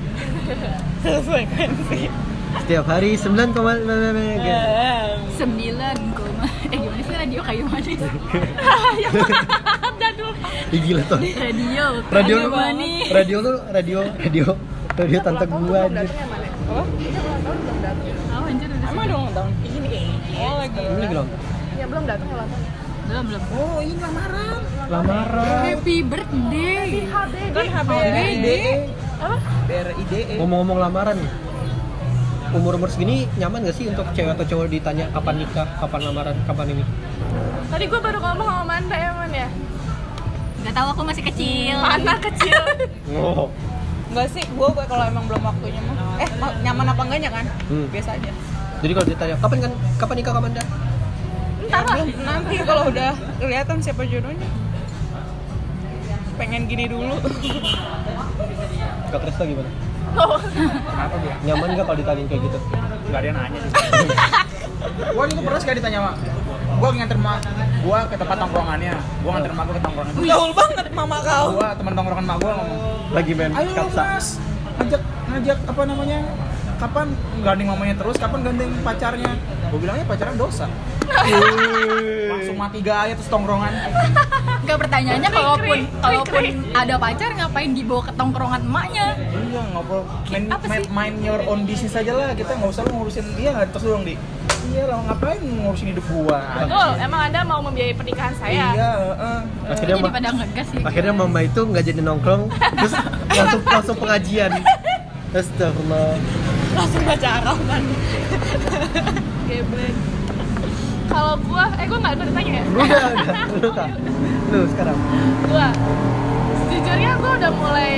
Speaker 4: satu frekuensi
Speaker 1: setiap hari 9, koma-
Speaker 5: Iya.
Speaker 1: gitu.
Speaker 5: sembilan koma eh gimana sih radio kayu manis
Speaker 1: Ih, gila tuh
Speaker 5: radio
Speaker 1: radio
Speaker 5: kayu
Speaker 1: lu
Speaker 5: manis
Speaker 1: radio lu radio radio radio tante gua
Speaker 3: belum
Speaker 1: anjir
Speaker 3: datang yang mana dia belum tahu belum datang
Speaker 5: oh anjir udah
Speaker 4: emang dong tahun ini oh lagi
Speaker 1: ini belum
Speaker 3: ya belum datang ulang tahun
Speaker 5: belum belum
Speaker 2: oh ini lamaran
Speaker 1: lamaran
Speaker 5: happy birthday
Speaker 4: Kan
Speaker 3: HBD
Speaker 5: HBD
Speaker 3: apa
Speaker 2: BRIDE
Speaker 1: ngomong-ngomong lamaran nih, umur-umur segini nyaman gak sih untuk cewek atau cowok ditanya kapan nikah, kapan lamaran, kapan ini?
Speaker 3: tadi gue baru ngomong sama Manda ya man ya
Speaker 5: nggak tahu aku masih kecil
Speaker 3: anak kecil
Speaker 1: Oh,
Speaker 4: Enggak sih, gue kalau emang belum waktunya mah Eh, ma- nyaman apa enggaknya kan?
Speaker 1: Hmm.
Speaker 4: Biasa aja
Speaker 1: Jadi kalau ditanya kapan kan kapan nikah kapan dah?
Speaker 4: Ntar lah, nanti kalau udah kelihatan siapa jodohnya. Pengen gini dulu.
Speaker 1: Kak Krista gimana?
Speaker 2: Kenapa gue?
Speaker 1: Nyaman gak kalau ditanyain kayak gitu?
Speaker 2: Gak ada yang nanya sih. gue itu pernah sekali ditanya mak. Gue nganter mak. Gue ke tempat tongkrongannya. Gue nganter mak gue ke tongkrongan.
Speaker 4: Gaul banget mama kau.
Speaker 2: Gue teman tongkrongan mak gue ngomong.
Speaker 1: Lagi main
Speaker 2: Ayo lu,
Speaker 1: kapsa.
Speaker 2: mas, ngajak ngajak apa namanya? Kapan gandeng mamanya terus? Kapan gandeng pacarnya? Gue bilangnya pacaran dosa. Langsung mati gaya terus tongkrongan.
Speaker 5: Gak pertanyaannya
Speaker 3: Krik,
Speaker 5: kalaupun
Speaker 3: krik,
Speaker 5: kalaupun
Speaker 3: krik,
Speaker 5: ada pacar ngapain dibawa ke tongkrongan emaknya?
Speaker 2: Iya ngobrol. Main,
Speaker 5: Apa
Speaker 2: main,
Speaker 5: sih?
Speaker 2: main your own business aja lah. Kita nggak usah lu ngurusin dia nggak terus dong di. Iya lah ngapain ngurusin hidup gua?
Speaker 3: Betul, Oh, emang Anda mau membiayai pernikahan saya?
Speaker 2: Iya. heeh.
Speaker 5: Jadi
Speaker 1: Akhirnya ma-
Speaker 5: pada ngegas sih.
Speaker 1: akhirnya mama itu nggak jadi nongkrong, terus langsung langsung pengajian. Astagfirullah.
Speaker 4: Langsung baca Arab kan.
Speaker 3: Geblek. Kalau gua, eh gua nggak boleh tanya ya.
Speaker 1: Lu udah, udah, lu udah. Lu sekarang.
Speaker 3: Gua, sejujurnya gua udah mulai,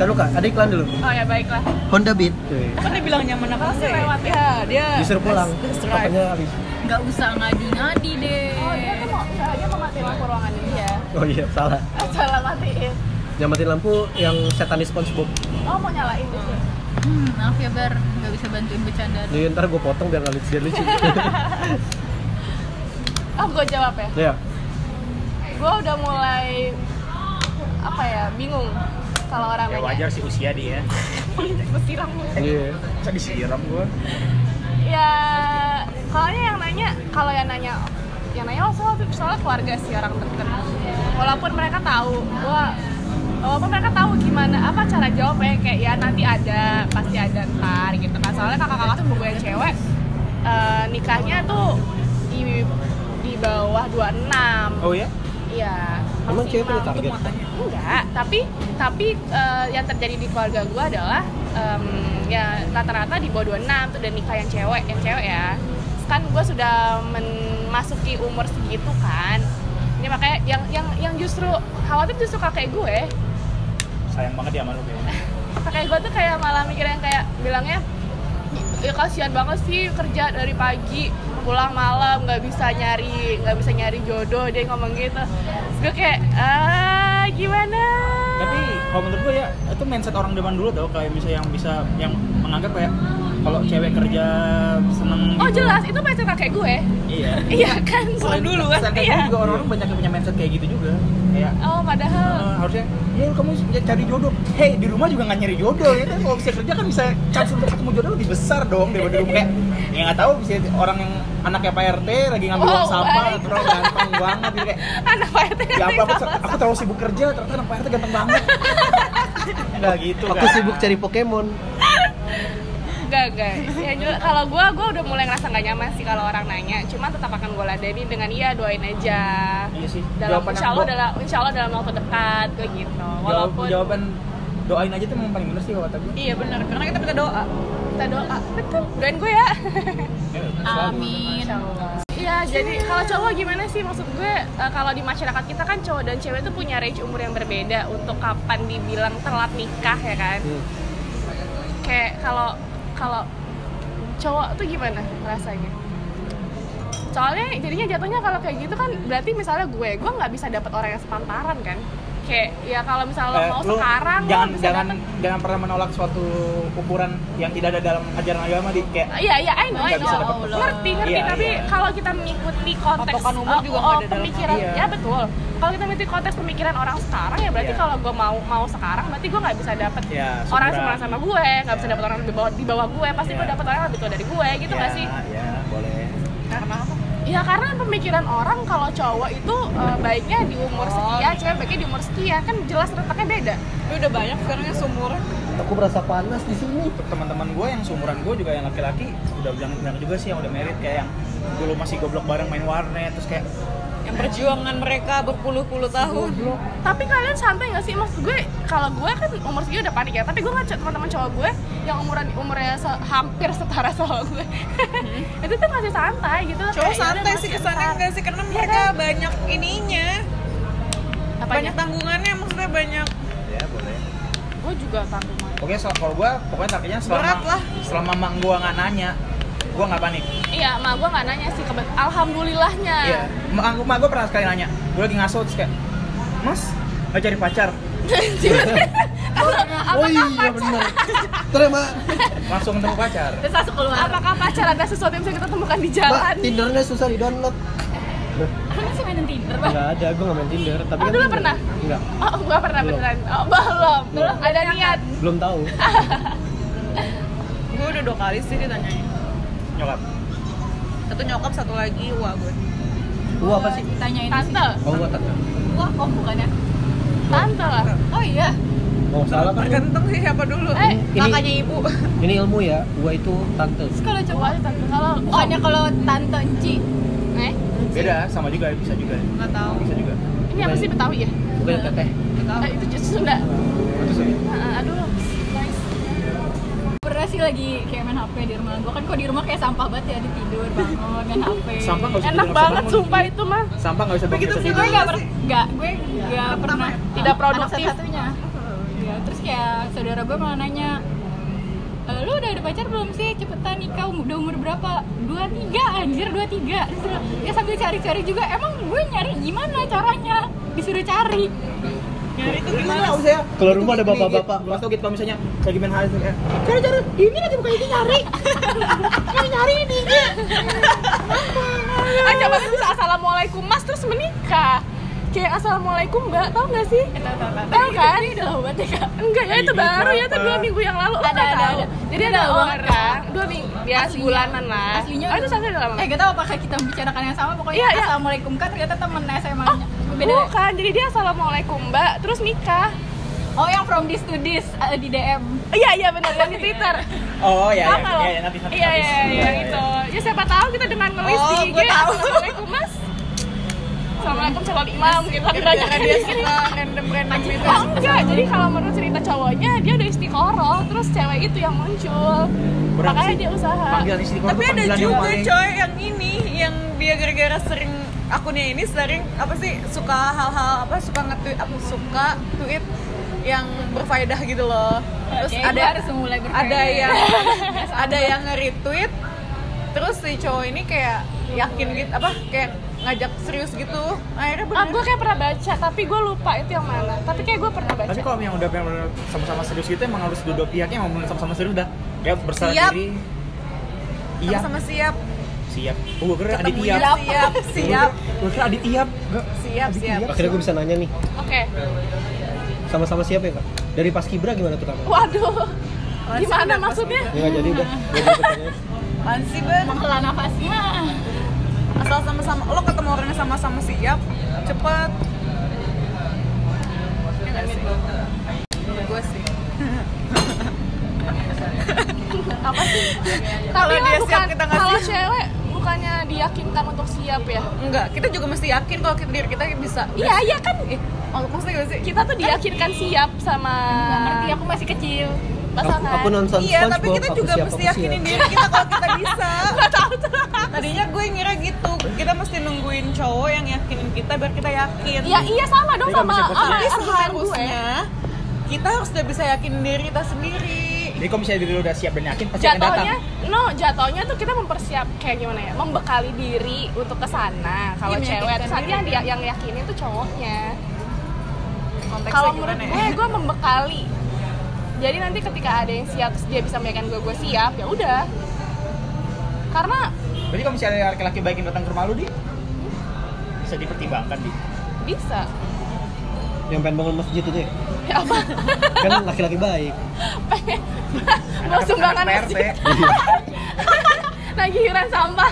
Speaker 1: Ntar lu kak, ada iklan dulu.
Speaker 3: oh ya baiklah.
Speaker 1: Honda Beat. Tuh.
Speaker 4: Kan dia bilang nyaman apa
Speaker 3: Pasti
Speaker 4: sih?
Speaker 3: lewat ya.
Speaker 4: Ya, dia
Speaker 1: Disuruh pulang.
Speaker 4: That's right.
Speaker 1: Katanya habis.
Speaker 5: Gak usah ngadi-ngadi deh.
Speaker 3: Oh dia tuh mau, dia mau matiin lampu ruangan dia.
Speaker 1: Oh iya, salah.
Speaker 3: Eh, Salah matiin.
Speaker 1: Nyamatin lampu yang setanis SpongeBob.
Speaker 3: Oh mau nyalain gitu.
Speaker 5: Hmm, maaf ya Bar, gak bisa bantuin bercanda.
Speaker 1: Jadi ntar gue potong biar nggak lucu biar lucu.
Speaker 3: Oh gua jawab ya.
Speaker 1: ya.
Speaker 3: Gua udah mulai apa ya bingung kalau orang
Speaker 2: Ya wajar sih usia dia.
Speaker 3: Bersilang mulu.
Speaker 1: Iya.
Speaker 2: Bisa disiram gua.
Speaker 3: Ya, kalau yang nanya, kalau yang nanya, yang nanya oh, soal soal keluarga sih orang terkenal. Walaupun mereka tahu, gua walaupun mereka tahu gimana apa cara jawabnya kayak ya nanti ada pasti ada ntar gitu kan soalnya kakak-kakak tuh gue yang cewek eh, nikahnya tuh di di bawah 26
Speaker 2: Oh ya?
Speaker 3: iya
Speaker 1: Emang cewek punya
Speaker 3: maksimal.
Speaker 1: target?
Speaker 3: enggak tapi tapi eh, yang terjadi di keluarga gue adalah em, ya rata-rata di bawah 26 tuh dan nikah yang cewek yang cewek ya kan gue sudah memasuki umur segitu kan ini makanya yang yang yang justru khawatir justru kakek gue
Speaker 2: Sayang banget ya sama lu kayaknya.
Speaker 3: kakek gue tuh kayak malah mikir yang kayak bilangnya ya kasihan banget sih kerja dari pagi pulang malam nggak bisa nyari nggak bisa nyari jodoh dia ngomong gitu Terus gue kayak ah gimana
Speaker 2: tapi kalau menurut gue ya itu mindset orang zaman dulu tau kayak misalnya yang bisa yang menganggap kayak kalau cewek kerja seneng
Speaker 3: oh
Speaker 2: gitu.
Speaker 3: jelas itu mindset kakek gue
Speaker 2: iya
Speaker 3: iya kan
Speaker 2: Selain- selain kayak gitu
Speaker 3: iya
Speaker 2: juga orang-orang banyak yang punya mindset kayak gitu juga kayak
Speaker 3: oh
Speaker 2: eh,
Speaker 3: padahal
Speaker 2: harusnya ya kamu ya cari jodoh hei di rumah juga nggak nyari jodoh ya kan kalau bisa kerja kan bisa chance untuk ketemu jodoh lebih besar dong daripada di rumah kayak ya nggak tahu bisa orang yang anaknya Pak RT lagi ngambil
Speaker 3: Oh,
Speaker 2: uang sampah
Speaker 3: baik.
Speaker 2: terus ganteng banget gitu kayak
Speaker 3: anak Pak RT
Speaker 2: ya apa aku, aku terlalu sibuk kerja ternyata anak Pak RT ganteng banget nggak gitu
Speaker 1: Aku
Speaker 2: kan.
Speaker 1: sibuk cari Pokemon.
Speaker 3: Enggak, enggak. Ya, jelas. kalau gue, gue udah mulai ngerasa nggak nyaman sih kalau orang nanya. Cuma tetap akan gue ladeni dengan iya, doain aja.
Speaker 2: Iya sih.
Speaker 3: Dalam,
Speaker 2: Jawaban
Speaker 3: insya
Speaker 2: yang
Speaker 3: Allah,
Speaker 2: gua-
Speaker 3: dalam, insya Allah dalam waktu dekat, gue gitu. Walaupun,
Speaker 2: Jawab- jawaban doain aja tuh memang paling bener sih kalau kata gue.
Speaker 4: Iya benar, karena kita minta doa.
Speaker 3: kita doa. Betul, doain gue ya.
Speaker 5: Amin.
Speaker 3: Iya, jadi kalau cowok gimana sih? Maksud gue, eh, kalau di masyarakat kita kan cowok dan cewek itu punya range umur yang berbeda untuk kapan dibilang telat nikah ya kan?
Speaker 1: Hmm.
Speaker 3: Kayak kalau kalau cowok tuh gimana rasanya? soalnya jadinya jatuhnya kalau kayak gitu kan berarti misalnya gue gue nggak bisa dapet orang yang sepantaran kan kayak ya kalau misalnya lo
Speaker 2: Eh,
Speaker 3: mau
Speaker 2: lu
Speaker 3: sekarang lo
Speaker 2: jangan
Speaker 3: bisa
Speaker 2: jangan
Speaker 3: dapet-
Speaker 2: jangan pernah menolak suatu ukuran yang tidak ada dalam ajaran agama di kayak
Speaker 3: Iya iya, I know, I
Speaker 2: Nggak bisa
Speaker 3: know.
Speaker 2: dapet
Speaker 3: Ngerti, ngerti,
Speaker 2: Iya,
Speaker 3: tapi
Speaker 2: iya.
Speaker 3: kalau kita mengikuti konteks
Speaker 4: Patokan umur
Speaker 3: eh,
Speaker 4: juga
Speaker 3: eh,
Speaker 4: nggak ada dalam-
Speaker 3: pemikiran,
Speaker 2: iya.
Speaker 3: ya betul. Kalau kita mengikuti konteks pemikiran orang sekarang ya berarti
Speaker 2: Iya.
Speaker 3: kalau gue mau mau sekarang berarti gue nggak bisa dapet
Speaker 2: Iya,
Speaker 3: orang
Speaker 2: seumuran.
Speaker 3: seumuran sama gue, nggak bisa dapet orang di bawah di bawah gue, pasti
Speaker 2: Iya.
Speaker 3: gue dapet orang yang lebih tua dari gue gitu nggak sih?
Speaker 2: ya boleh
Speaker 4: Karena apa?
Speaker 3: Ya karena pemikiran orang kalau cowok itu eh, baiknya di umur
Speaker 4: Oh.
Speaker 3: sekian, cewek baiknya di umur sekian kan jelas retaknya beda.
Speaker 4: Tapi udah banyak sekarang yang seumuran.
Speaker 1: Aku merasa panas di sini.
Speaker 2: Untuk teman-teman gue yang seumuran gue juga yang laki-laki udah bilang bilang juga sih yang udah merit kayak yang dulu masih goblok bareng main warnet terus kayak
Speaker 4: Yang perjuangan mereka berpuluh-puluh tahun.
Speaker 3: Tapi kalian santai nggak sih maksud gue? Kalau gue kan umur segitu udah panik ya. Tapi gue ngaca teman-teman cowok gue yang umuran umurnya se- hampir setara sama gue. itu tuh masih Hmm. santai gitu.
Speaker 4: Cowok
Speaker 3: Kayak, ya udah,
Speaker 4: santai sih
Speaker 3: masih
Speaker 4: kesannya
Speaker 3: ntar.
Speaker 4: enggak sih karena mereka banyak ininya,
Speaker 3: Apanya?
Speaker 4: banyak tanggungannya maksudnya banyak
Speaker 2: ya boleh
Speaker 3: Gue juga tanggungan.
Speaker 2: Oke, so, kalau gue pokoknya targetnya selama
Speaker 4: Berat lah.
Speaker 2: selama mak gue nggak nanya, gue gue nggak panik
Speaker 3: iya mak gue nggak nanya sih kebet alhamdulillahnya
Speaker 2: Iya. Mak aku mak gue pernah sekali nanya. Gue lagi ngaso terus kayak, Mas, nggak cari pacar?
Speaker 3: Ya,
Speaker 1: oh iya ya, benar terima
Speaker 2: Langsung ketemu pacar.
Speaker 5: Terus langsung keluar.
Speaker 3: apakah pacar ada sesuatu yang bisa kita temukan di
Speaker 1: mbak
Speaker 3: jalan
Speaker 1: tindernya susah di download
Speaker 5: Lu masih mainin Tinder, Bang?
Speaker 1: nggak ada gue nggak main tinder tapi
Speaker 3: Oh,
Speaker 1: kan
Speaker 3: dulu
Speaker 1: Tinder-
Speaker 3: pernah?
Speaker 1: nggak
Speaker 3: oh nggak pernah
Speaker 1: Belum.
Speaker 3: beneran oh belum belum
Speaker 1: Belum.
Speaker 3: ada niat
Speaker 1: belum tahu
Speaker 4: gue udah dua kali sih ditanyain
Speaker 2: Nyokap.
Speaker 4: satu nyokap satu lagi wah gue
Speaker 1: gua apa sih
Speaker 5: Ditanyain
Speaker 3: tante
Speaker 1: oh gua tak
Speaker 5: Wah, kok bukannya?
Speaker 3: tante lah
Speaker 5: Oh iya.
Speaker 1: oh salah kan
Speaker 4: tergantung sih siapa dulu
Speaker 3: Eh,
Speaker 1: ini-
Speaker 4: kakaknya ibu
Speaker 1: ini ilmu ya gua itu tante
Speaker 5: Terus kalau
Speaker 3: coba
Speaker 5: cowok
Speaker 3: aja tante kalau
Speaker 5: bukannya kalau tante Enci
Speaker 3: eh
Speaker 2: Beda, sama juga, bisa juga.
Speaker 4: nggak tahu
Speaker 2: Bisa juga.
Speaker 3: ini apa sih betawi ya
Speaker 1: bukannya teteh
Speaker 4: nggak tahu
Speaker 3: Eh, itu justru Sunda
Speaker 2: Itu sih.
Speaker 5: Ah,
Speaker 3: Heeh, aduh nice
Speaker 5: pernah sih lagi kayak main HP di rumah gue kan kok di rumah kayak sampah banget ya di tidur bangun main HP
Speaker 2: Sampah nggak usah tidur, nggak
Speaker 3: enak
Speaker 2: usah
Speaker 3: banget
Speaker 2: bangun.
Speaker 3: sumpah itu mah
Speaker 2: Sampah nggak usah bangun, nggak
Speaker 5: gue
Speaker 2: usah tidur.
Speaker 5: gak pernah gak gue gak pernah
Speaker 3: Tidak produktif.
Speaker 5: anak satunya ya, terus kayak saudara gue malah nanya "E, lu udah ada pacar belum sih cepetan nikah um- udah umur berapa dua tiga anjir dua tiga Terus dia bilang, ya sambil cari-cari juga emang gue nyari gimana caranya disuruh cari
Speaker 4: nyari itu gimana
Speaker 2: Nggak usah ya.
Speaker 1: Keluar rumah ada bapak-bapak.
Speaker 2: Mas tau gitu kalau misalnya lagi main hal eh,
Speaker 3: ah coba tuh bisa assalamualaikum mas terus menikah kayak assalamualaikum mbak tau nggak sih tahu kan
Speaker 5: udah lama banget ya Kak.
Speaker 3: enggak ya itu
Speaker 2: Ini
Speaker 3: baru ya itu
Speaker 2: berapa?
Speaker 3: dua minggu yang lalu
Speaker 5: Ada,
Speaker 3: ada
Speaker 5: ada,
Speaker 3: tahu
Speaker 5: ada.
Speaker 3: jadi
Speaker 5: Ini
Speaker 3: ada
Speaker 5: lama banget,
Speaker 3: orang
Speaker 5: Kak.
Speaker 3: dua minggu ya
Speaker 5: Aslinya-
Speaker 3: sebulanan lah
Speaker 5: aslinya
Speaker 3: oh itu
Speaker 5: udah-
Speaker 3: sampai lama
Speaker 5: eh gak tau apakah kita membicarakan yang sama pokoknya
Speaker 3: Iya, iya.
Speaker 5: assalamualaikum kan ternyata temen SMA
Speaker 3: oh
Speaker 5: nya ya?
Speaker 3: bukan jadi dia assalamualaikum mbak terus nikah
Speaker 5: oh yang from this to this eh, di DM
Speaker 3: iya iya benar yang di twitter
Speaker 2: Oh ya,
Speaker 3: Tau
Speaker 2: ya,
Speaker 3: nggak lo?
Speaker 2: ya, ya, nanti nanti.
Speaker 3: iya
Speaker 2: habis.
Speaker 3: iya iya yang itu ya siapa tahu kita dengan ngelis
Speaker 4: Oh,
Speaker 3: di IG
Speaker 4: gua tahu.
Speaker 3: assalamualaikum mas Assalamualaikum calon imam gitu tapi banyak
Speaker 4: Karena dia suka gitu. random random itu
Speaker 3: Oh enggak, jadi kalau menurut cerita cowoknya dia udah istiqoroh, terus cewek itu yang muncul.
Speaker 2: Kurang
Speaker 3: Makanya
Speaker 2: sih.
Speaker 3: dia usaha.
Speaker 2: Panggilan istri keluar
Speaker 4: tapi
Speaker 2: tuh
Speaker 4: ada
Speaker 2: panggilan yang
Speaker 4: juga
Speaker 2: paling-
Speaker 4: coy yang ini yang dia gara-gara sering akunnya ini sering apa sih suka hal-hal apa suka nge-tweet apa suka tweet yang berfaedah gitu loh terus
Speaker 5: Oke,
Speaker 4: ada
Speaker 5: gua harus mulai berfaedah.
Speaker 4: ada yang ada yang nge-retweet terus si cowok ini kayak yakin gitu apa kayak ngajak serius gitu akhirnya
Speaker 3: Ah,
Speaker 4: bener
Speaker 3: gue kayak pernah baca, tapi gue lupa itu yang mana. Tapi kayak gue pernah baca.
Speaker 2: Tapi kalau yang udah benar-benar sama-sama serius gitu emang harus dua-dua pihaknya emang benar-benar sama-sama serius dah. Ya bersalah
Speaker 4: Siap.
Speaker 2: diri. Iya,
Speaker 4: sama-sama siap
Speaker 2: siap. Oh, gue kira adik
Speaker 4: ketemunya
Speaker 2: tiap.
Speaker 4: siap siap
Speaker 2: Gue kira adik tiap.
Speaker 4: siap
Speaker 3: Iya.
Speaker 4: siap
Speaker 1: akhirnya gue bisa nanya nih
Speaker 3: Oke.
Speaker 1: sama-sama siap ya kak dari pas kibra gimana tuh kak
Speaker 3: Waduh.
Speaker 4: Masih
Speaker 3: Gimana
Speaker 4: bener, masih
Speaker 3: maksudnya?
Speaker 1: ya nggak jadi udah Gua jadi pertanyaan.
Speaker 4: Apaan sih, Ben?
Speaker 5: menghela nafasnya
Speaker 4: asal sama-sama lo ketemu orang yang sama-sama siap cepet ya nggak sih Menurut gue sih Kalau
Speaker 3: Tapi lah
Speaker 4: dia siap,
Speaker 3: bukan-
Speaker 4: kita nggak
Speaker 3: Kalau
Speaker 4: siap.
Speaker 3: cewek bukannya diyakinkan untuk siap ya?
Speaker 4: enggak kita juga mesti yakin kalau kita diri kita bisa
Speaker 3: Iya, iya kan.
Speaker 4: oh, maksudnya gak sih
Speaker 3: Kita tuh diyakinkan
Speaker 4: iya.
Speaker 3: siap sama
Speaker 5: Gak ngerti aku masih kecil
Speaker 1: aku,
Speaker 3: pasangan.
Speaker 1: aku nonton
Speaker 4: iya
Speaker 1: SpongeBob
Speaker 4: tapi kita
Speaker 1: aku
Speaker 4: juga
Speaker 1: siap,
Speaker 4: mesti
Speaker 1: aku
Speaker 4: yakinin
Speaker 1: siap.
Speaker 4: diri kita kalau kita bisa tadinya gue ngira gitu kita mesti nungguin cowok yang yakinin kita biar kita yakin
Speaker 3: Iya, iya sama dong
Speaker 2: Jadi
Speaker 3: sama
Speaker 2: nggak bisa
Speaker 3: sama
Speaker 4: tapi
Speaker 3: argumen gue.
Speaker 4: seharusnya kita harus udah bisa yakinin diri kita sendiri
Speaker 2: Jadi kalau misalnya diri lu udah siap dan yakin pasti akan datang.
Speaker 3: jatuhnya no jatuhnya tuh kita mempersiap kayak gimana ya membekali diri untuk ke sana kalau
Speaker 4: Iya,
Speaker 3: cewek
Speaker 4: meyakinkan
Speaker 3: terus nanti
Speaker 4: diri.
Speaker 3: yang dia yang yakinin tuh cowoknya
Speaker 4: Konteksnya
Speaker 3: kalau menurut
Speaker 4: gimana ya?
Speaker 3: gue gue membekali jadi nanti ketika ada yang siap terus dia bisa meyakinkan gue gue siap ya udah karena
Speaker 2: Berarti kalau misalnya laki-laki baik yang datang ke rumah lu, Di? Bisa dipertimbangkan, Di.
Speaker 3: bisa
Speaker 1: yang pengen bangun masjid itu ya
Speaker 3: ya apa
Speaker 1: kan laki-laki baik
Speaker 3: mau sumbangan
Speaker 2: Anak
Speaker 3: masjid
Speaker 2: PRT.
Speaker 3: lagi iuran sampah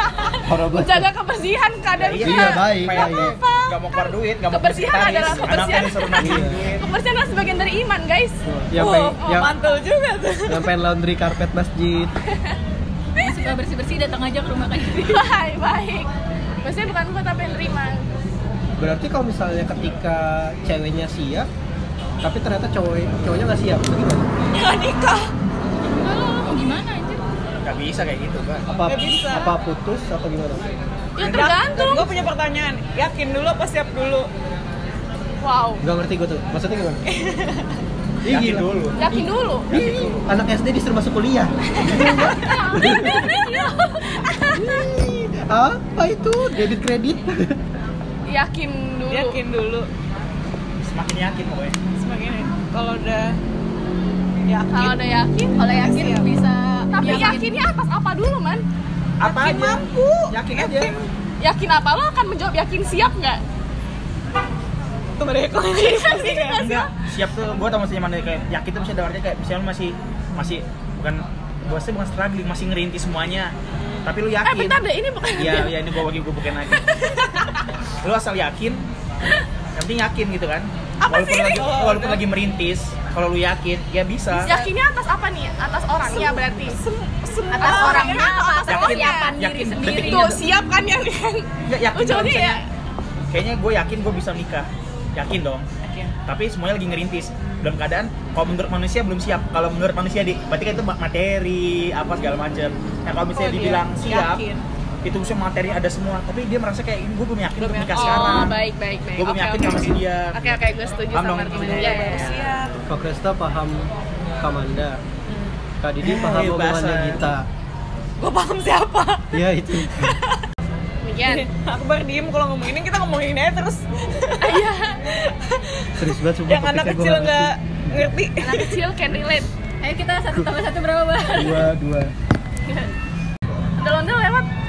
Speaker 1: horor banget
Speaker 3: menjaga kebersihan kadang
Speaker 1: Iya, iya, baik,
Speaker 2: Kayak
Speaker 1: baik.
Speaker 2: apa? Nggak mau keluar duit, nggak mau
Speaker 3: Kebersihan
Speaker 2: bersih
Speaker 3: adalah
Speaker 2: taris.
Speaker 3: kebersihan.
Speaker 2: Anaknya disuruh nagih
Speaker 1: Iya.
Speaker 2: duit.
Speaker 3: kebersihan adalah sebagian dari iman guys
Speaker 1: yang pengen yang,
Speaker 4: mantul juga tuh
Speaker 1: yang pengen laundry karpet masjid
Speaker 5: Yang suka bersih-bersih datang aja ke rumah kayak gitu
Speaker 3: baik baik maksudnya bukan gue tapi yang terima
Speaker 1: berarti kalau misalnya ketika ceweknya siap tapi ternyata cowok cowoknya nggak siap itu gimana
Speaker 4: nggak nikah
Speaker 5: mau gimana anjir
Speaker 2: Nggak bisa kayak gitu, Kak.
Speaker 1: apa
Speaker 4: Nggak bisa. Oh.
Speaker 1: apa putus atau gimana
Speaker 3: ya tergantung
Speaker 4: gue punya pertanyaan yakin dulu apa siap dulu
Speaker 3: wow
Speaker 1: nggak ngerti gue tuh maksudnya gimana Iya,
Speaker 2: yakin
Speaker 1: gila.
Speaker 2: dulu
Speaker 3: yakin dulu
Speaker 1: Anak SD disuruh masuk kuliah. Ih, Apa itu? Debit kredit?
Speaker 3: yakin dulu
Speaker 4: yakin dulu
Speaker 2: semakin yakin pokoknya
Speaker 4: semakin kalau udah yakin
Speaker 3: kalau udah yakin
Speaker 5: Kalau yakin
Speaker 4: Siap.
Speaker 5: bisa
Speaker 3: tapi
Speaker 5: yakin.
Speaker 3: yakinnya atas apa dulu man
Speaker 2: apa
Speaker 4: yakin
Speaker 2: aja
Speaker 4: mampu
Speaker 2: yakin aja
Speaker 3: yakin apa lo akan menjawab yakin siap nggak
Speaker 4: itu mereka sih kayak enggak
Speaker 2: Iya, siap tuh gue tau maksudnya mana kayak yakin tuh bisa dalam artinya kayak misalnya lu masih masih bukan gue sih bukan struggling masih ngerintis semuanya tapi lu
Speaker 3: eh
Speaker 2: yakin
Speaker 3: bentar deh ini bukan
Speaker 2: Iya, iya ini gue bagi gue bukan lagi. Lu asal yakin, yang penting yakin gitu kan.
Speaker 3: Apa
Speaker 2: walaupun
Speaker 3: sih ini?
Speaker 2: lagi walaupun lagi merintis, kalau lu yakin ya bisa.
Speaker 3: yakinnya atas apa nih atas orangnya berarti atas
Speaker 4: Oh,
Speaker 5: Ah,
Speaker 3: orangnya
Speaker 5: iya,
Speaker 3: atau atas
Speaker 5: atas
Speaker 2: yakin,
Speaker 3: orangnya
Speaker 5: persiapan diri
Speaker 2: yakin
Speaker 5: sendiri.
Speaker 2: detiknya
Speaker 3: tuh
Speaker 2: tuh.
Speaker 3: siap kan yang
Speaker 2: Nggak, yakin dong,
Speaker 3: ujungnya ya
Speaker 2: misalnya, Kayaknya gue yakin gue bisa nikah. Yakin dong. Tapi semuanya lagi ngerintis. Dalam keadaan kalau menurut manusia belum siap. Kalau menurut manusia di berarti kan itu ma- materi apa segala macam. Nah, kalau misalnya
Speaker 4: Oh, dia
Speaker 2: dibilang siap,
Speaker 4: yakin.
Speaker 2: itu bisa materinya ada semua. Tapi dia merasa kayak ini gue belum yakin
Speaker 4: Belum
Speaker 2: untuk nikah
Speaker 4: yakin.
Speaker 2: sekarang.
Speaker 3: oh baik baik baik
Speaker 2: Gue belum
Speaker 3: Oke,
Speaker 2: yakin
Speaker 3: oke.
Speaker 2: sama si dia.
Speaker 3: Oke oke gue setuju
Speaker 2: Paham
Speaker 3: sama
Speaker 2: dong,
Speaker 3: argumennya.
Speaker 2: argumennya.
Speaker 3: Iya
Speaker 2: Iya,
Speaker 3: iya. iya.
Speaker 4: siap
Speaker 1: Kak Kresta paham Kamanda. Kak Didi
Speaker 2: Eh,
Speaker 1: paham
Speaker 2: iya,
Speaker 1: omongannya
Speaker 2: bahasa.
Speaker 1: Gita.
Speaker 4: gue paham siapa
Speaker 1: Ya itu.
Speaker 3: Demikian.
Speaker 4: aku baru diem kalau ngomongin kita ngomongin aja terus
Speaker 1: Serius banget sumpah
Speaker 4: yang anak
Speaker 1: topiknya gua
Speaker 4: kecil
Speaker 1: ngerti.
Speaker 4: nggak ngerti
Speaker 3: Anak kecil can relate.
Speaker 5: Ayo kita satu tambah satu berapa, Bang?
Speaker 1: Dua, dua.
Speaker 3: Ondel-ondel lewat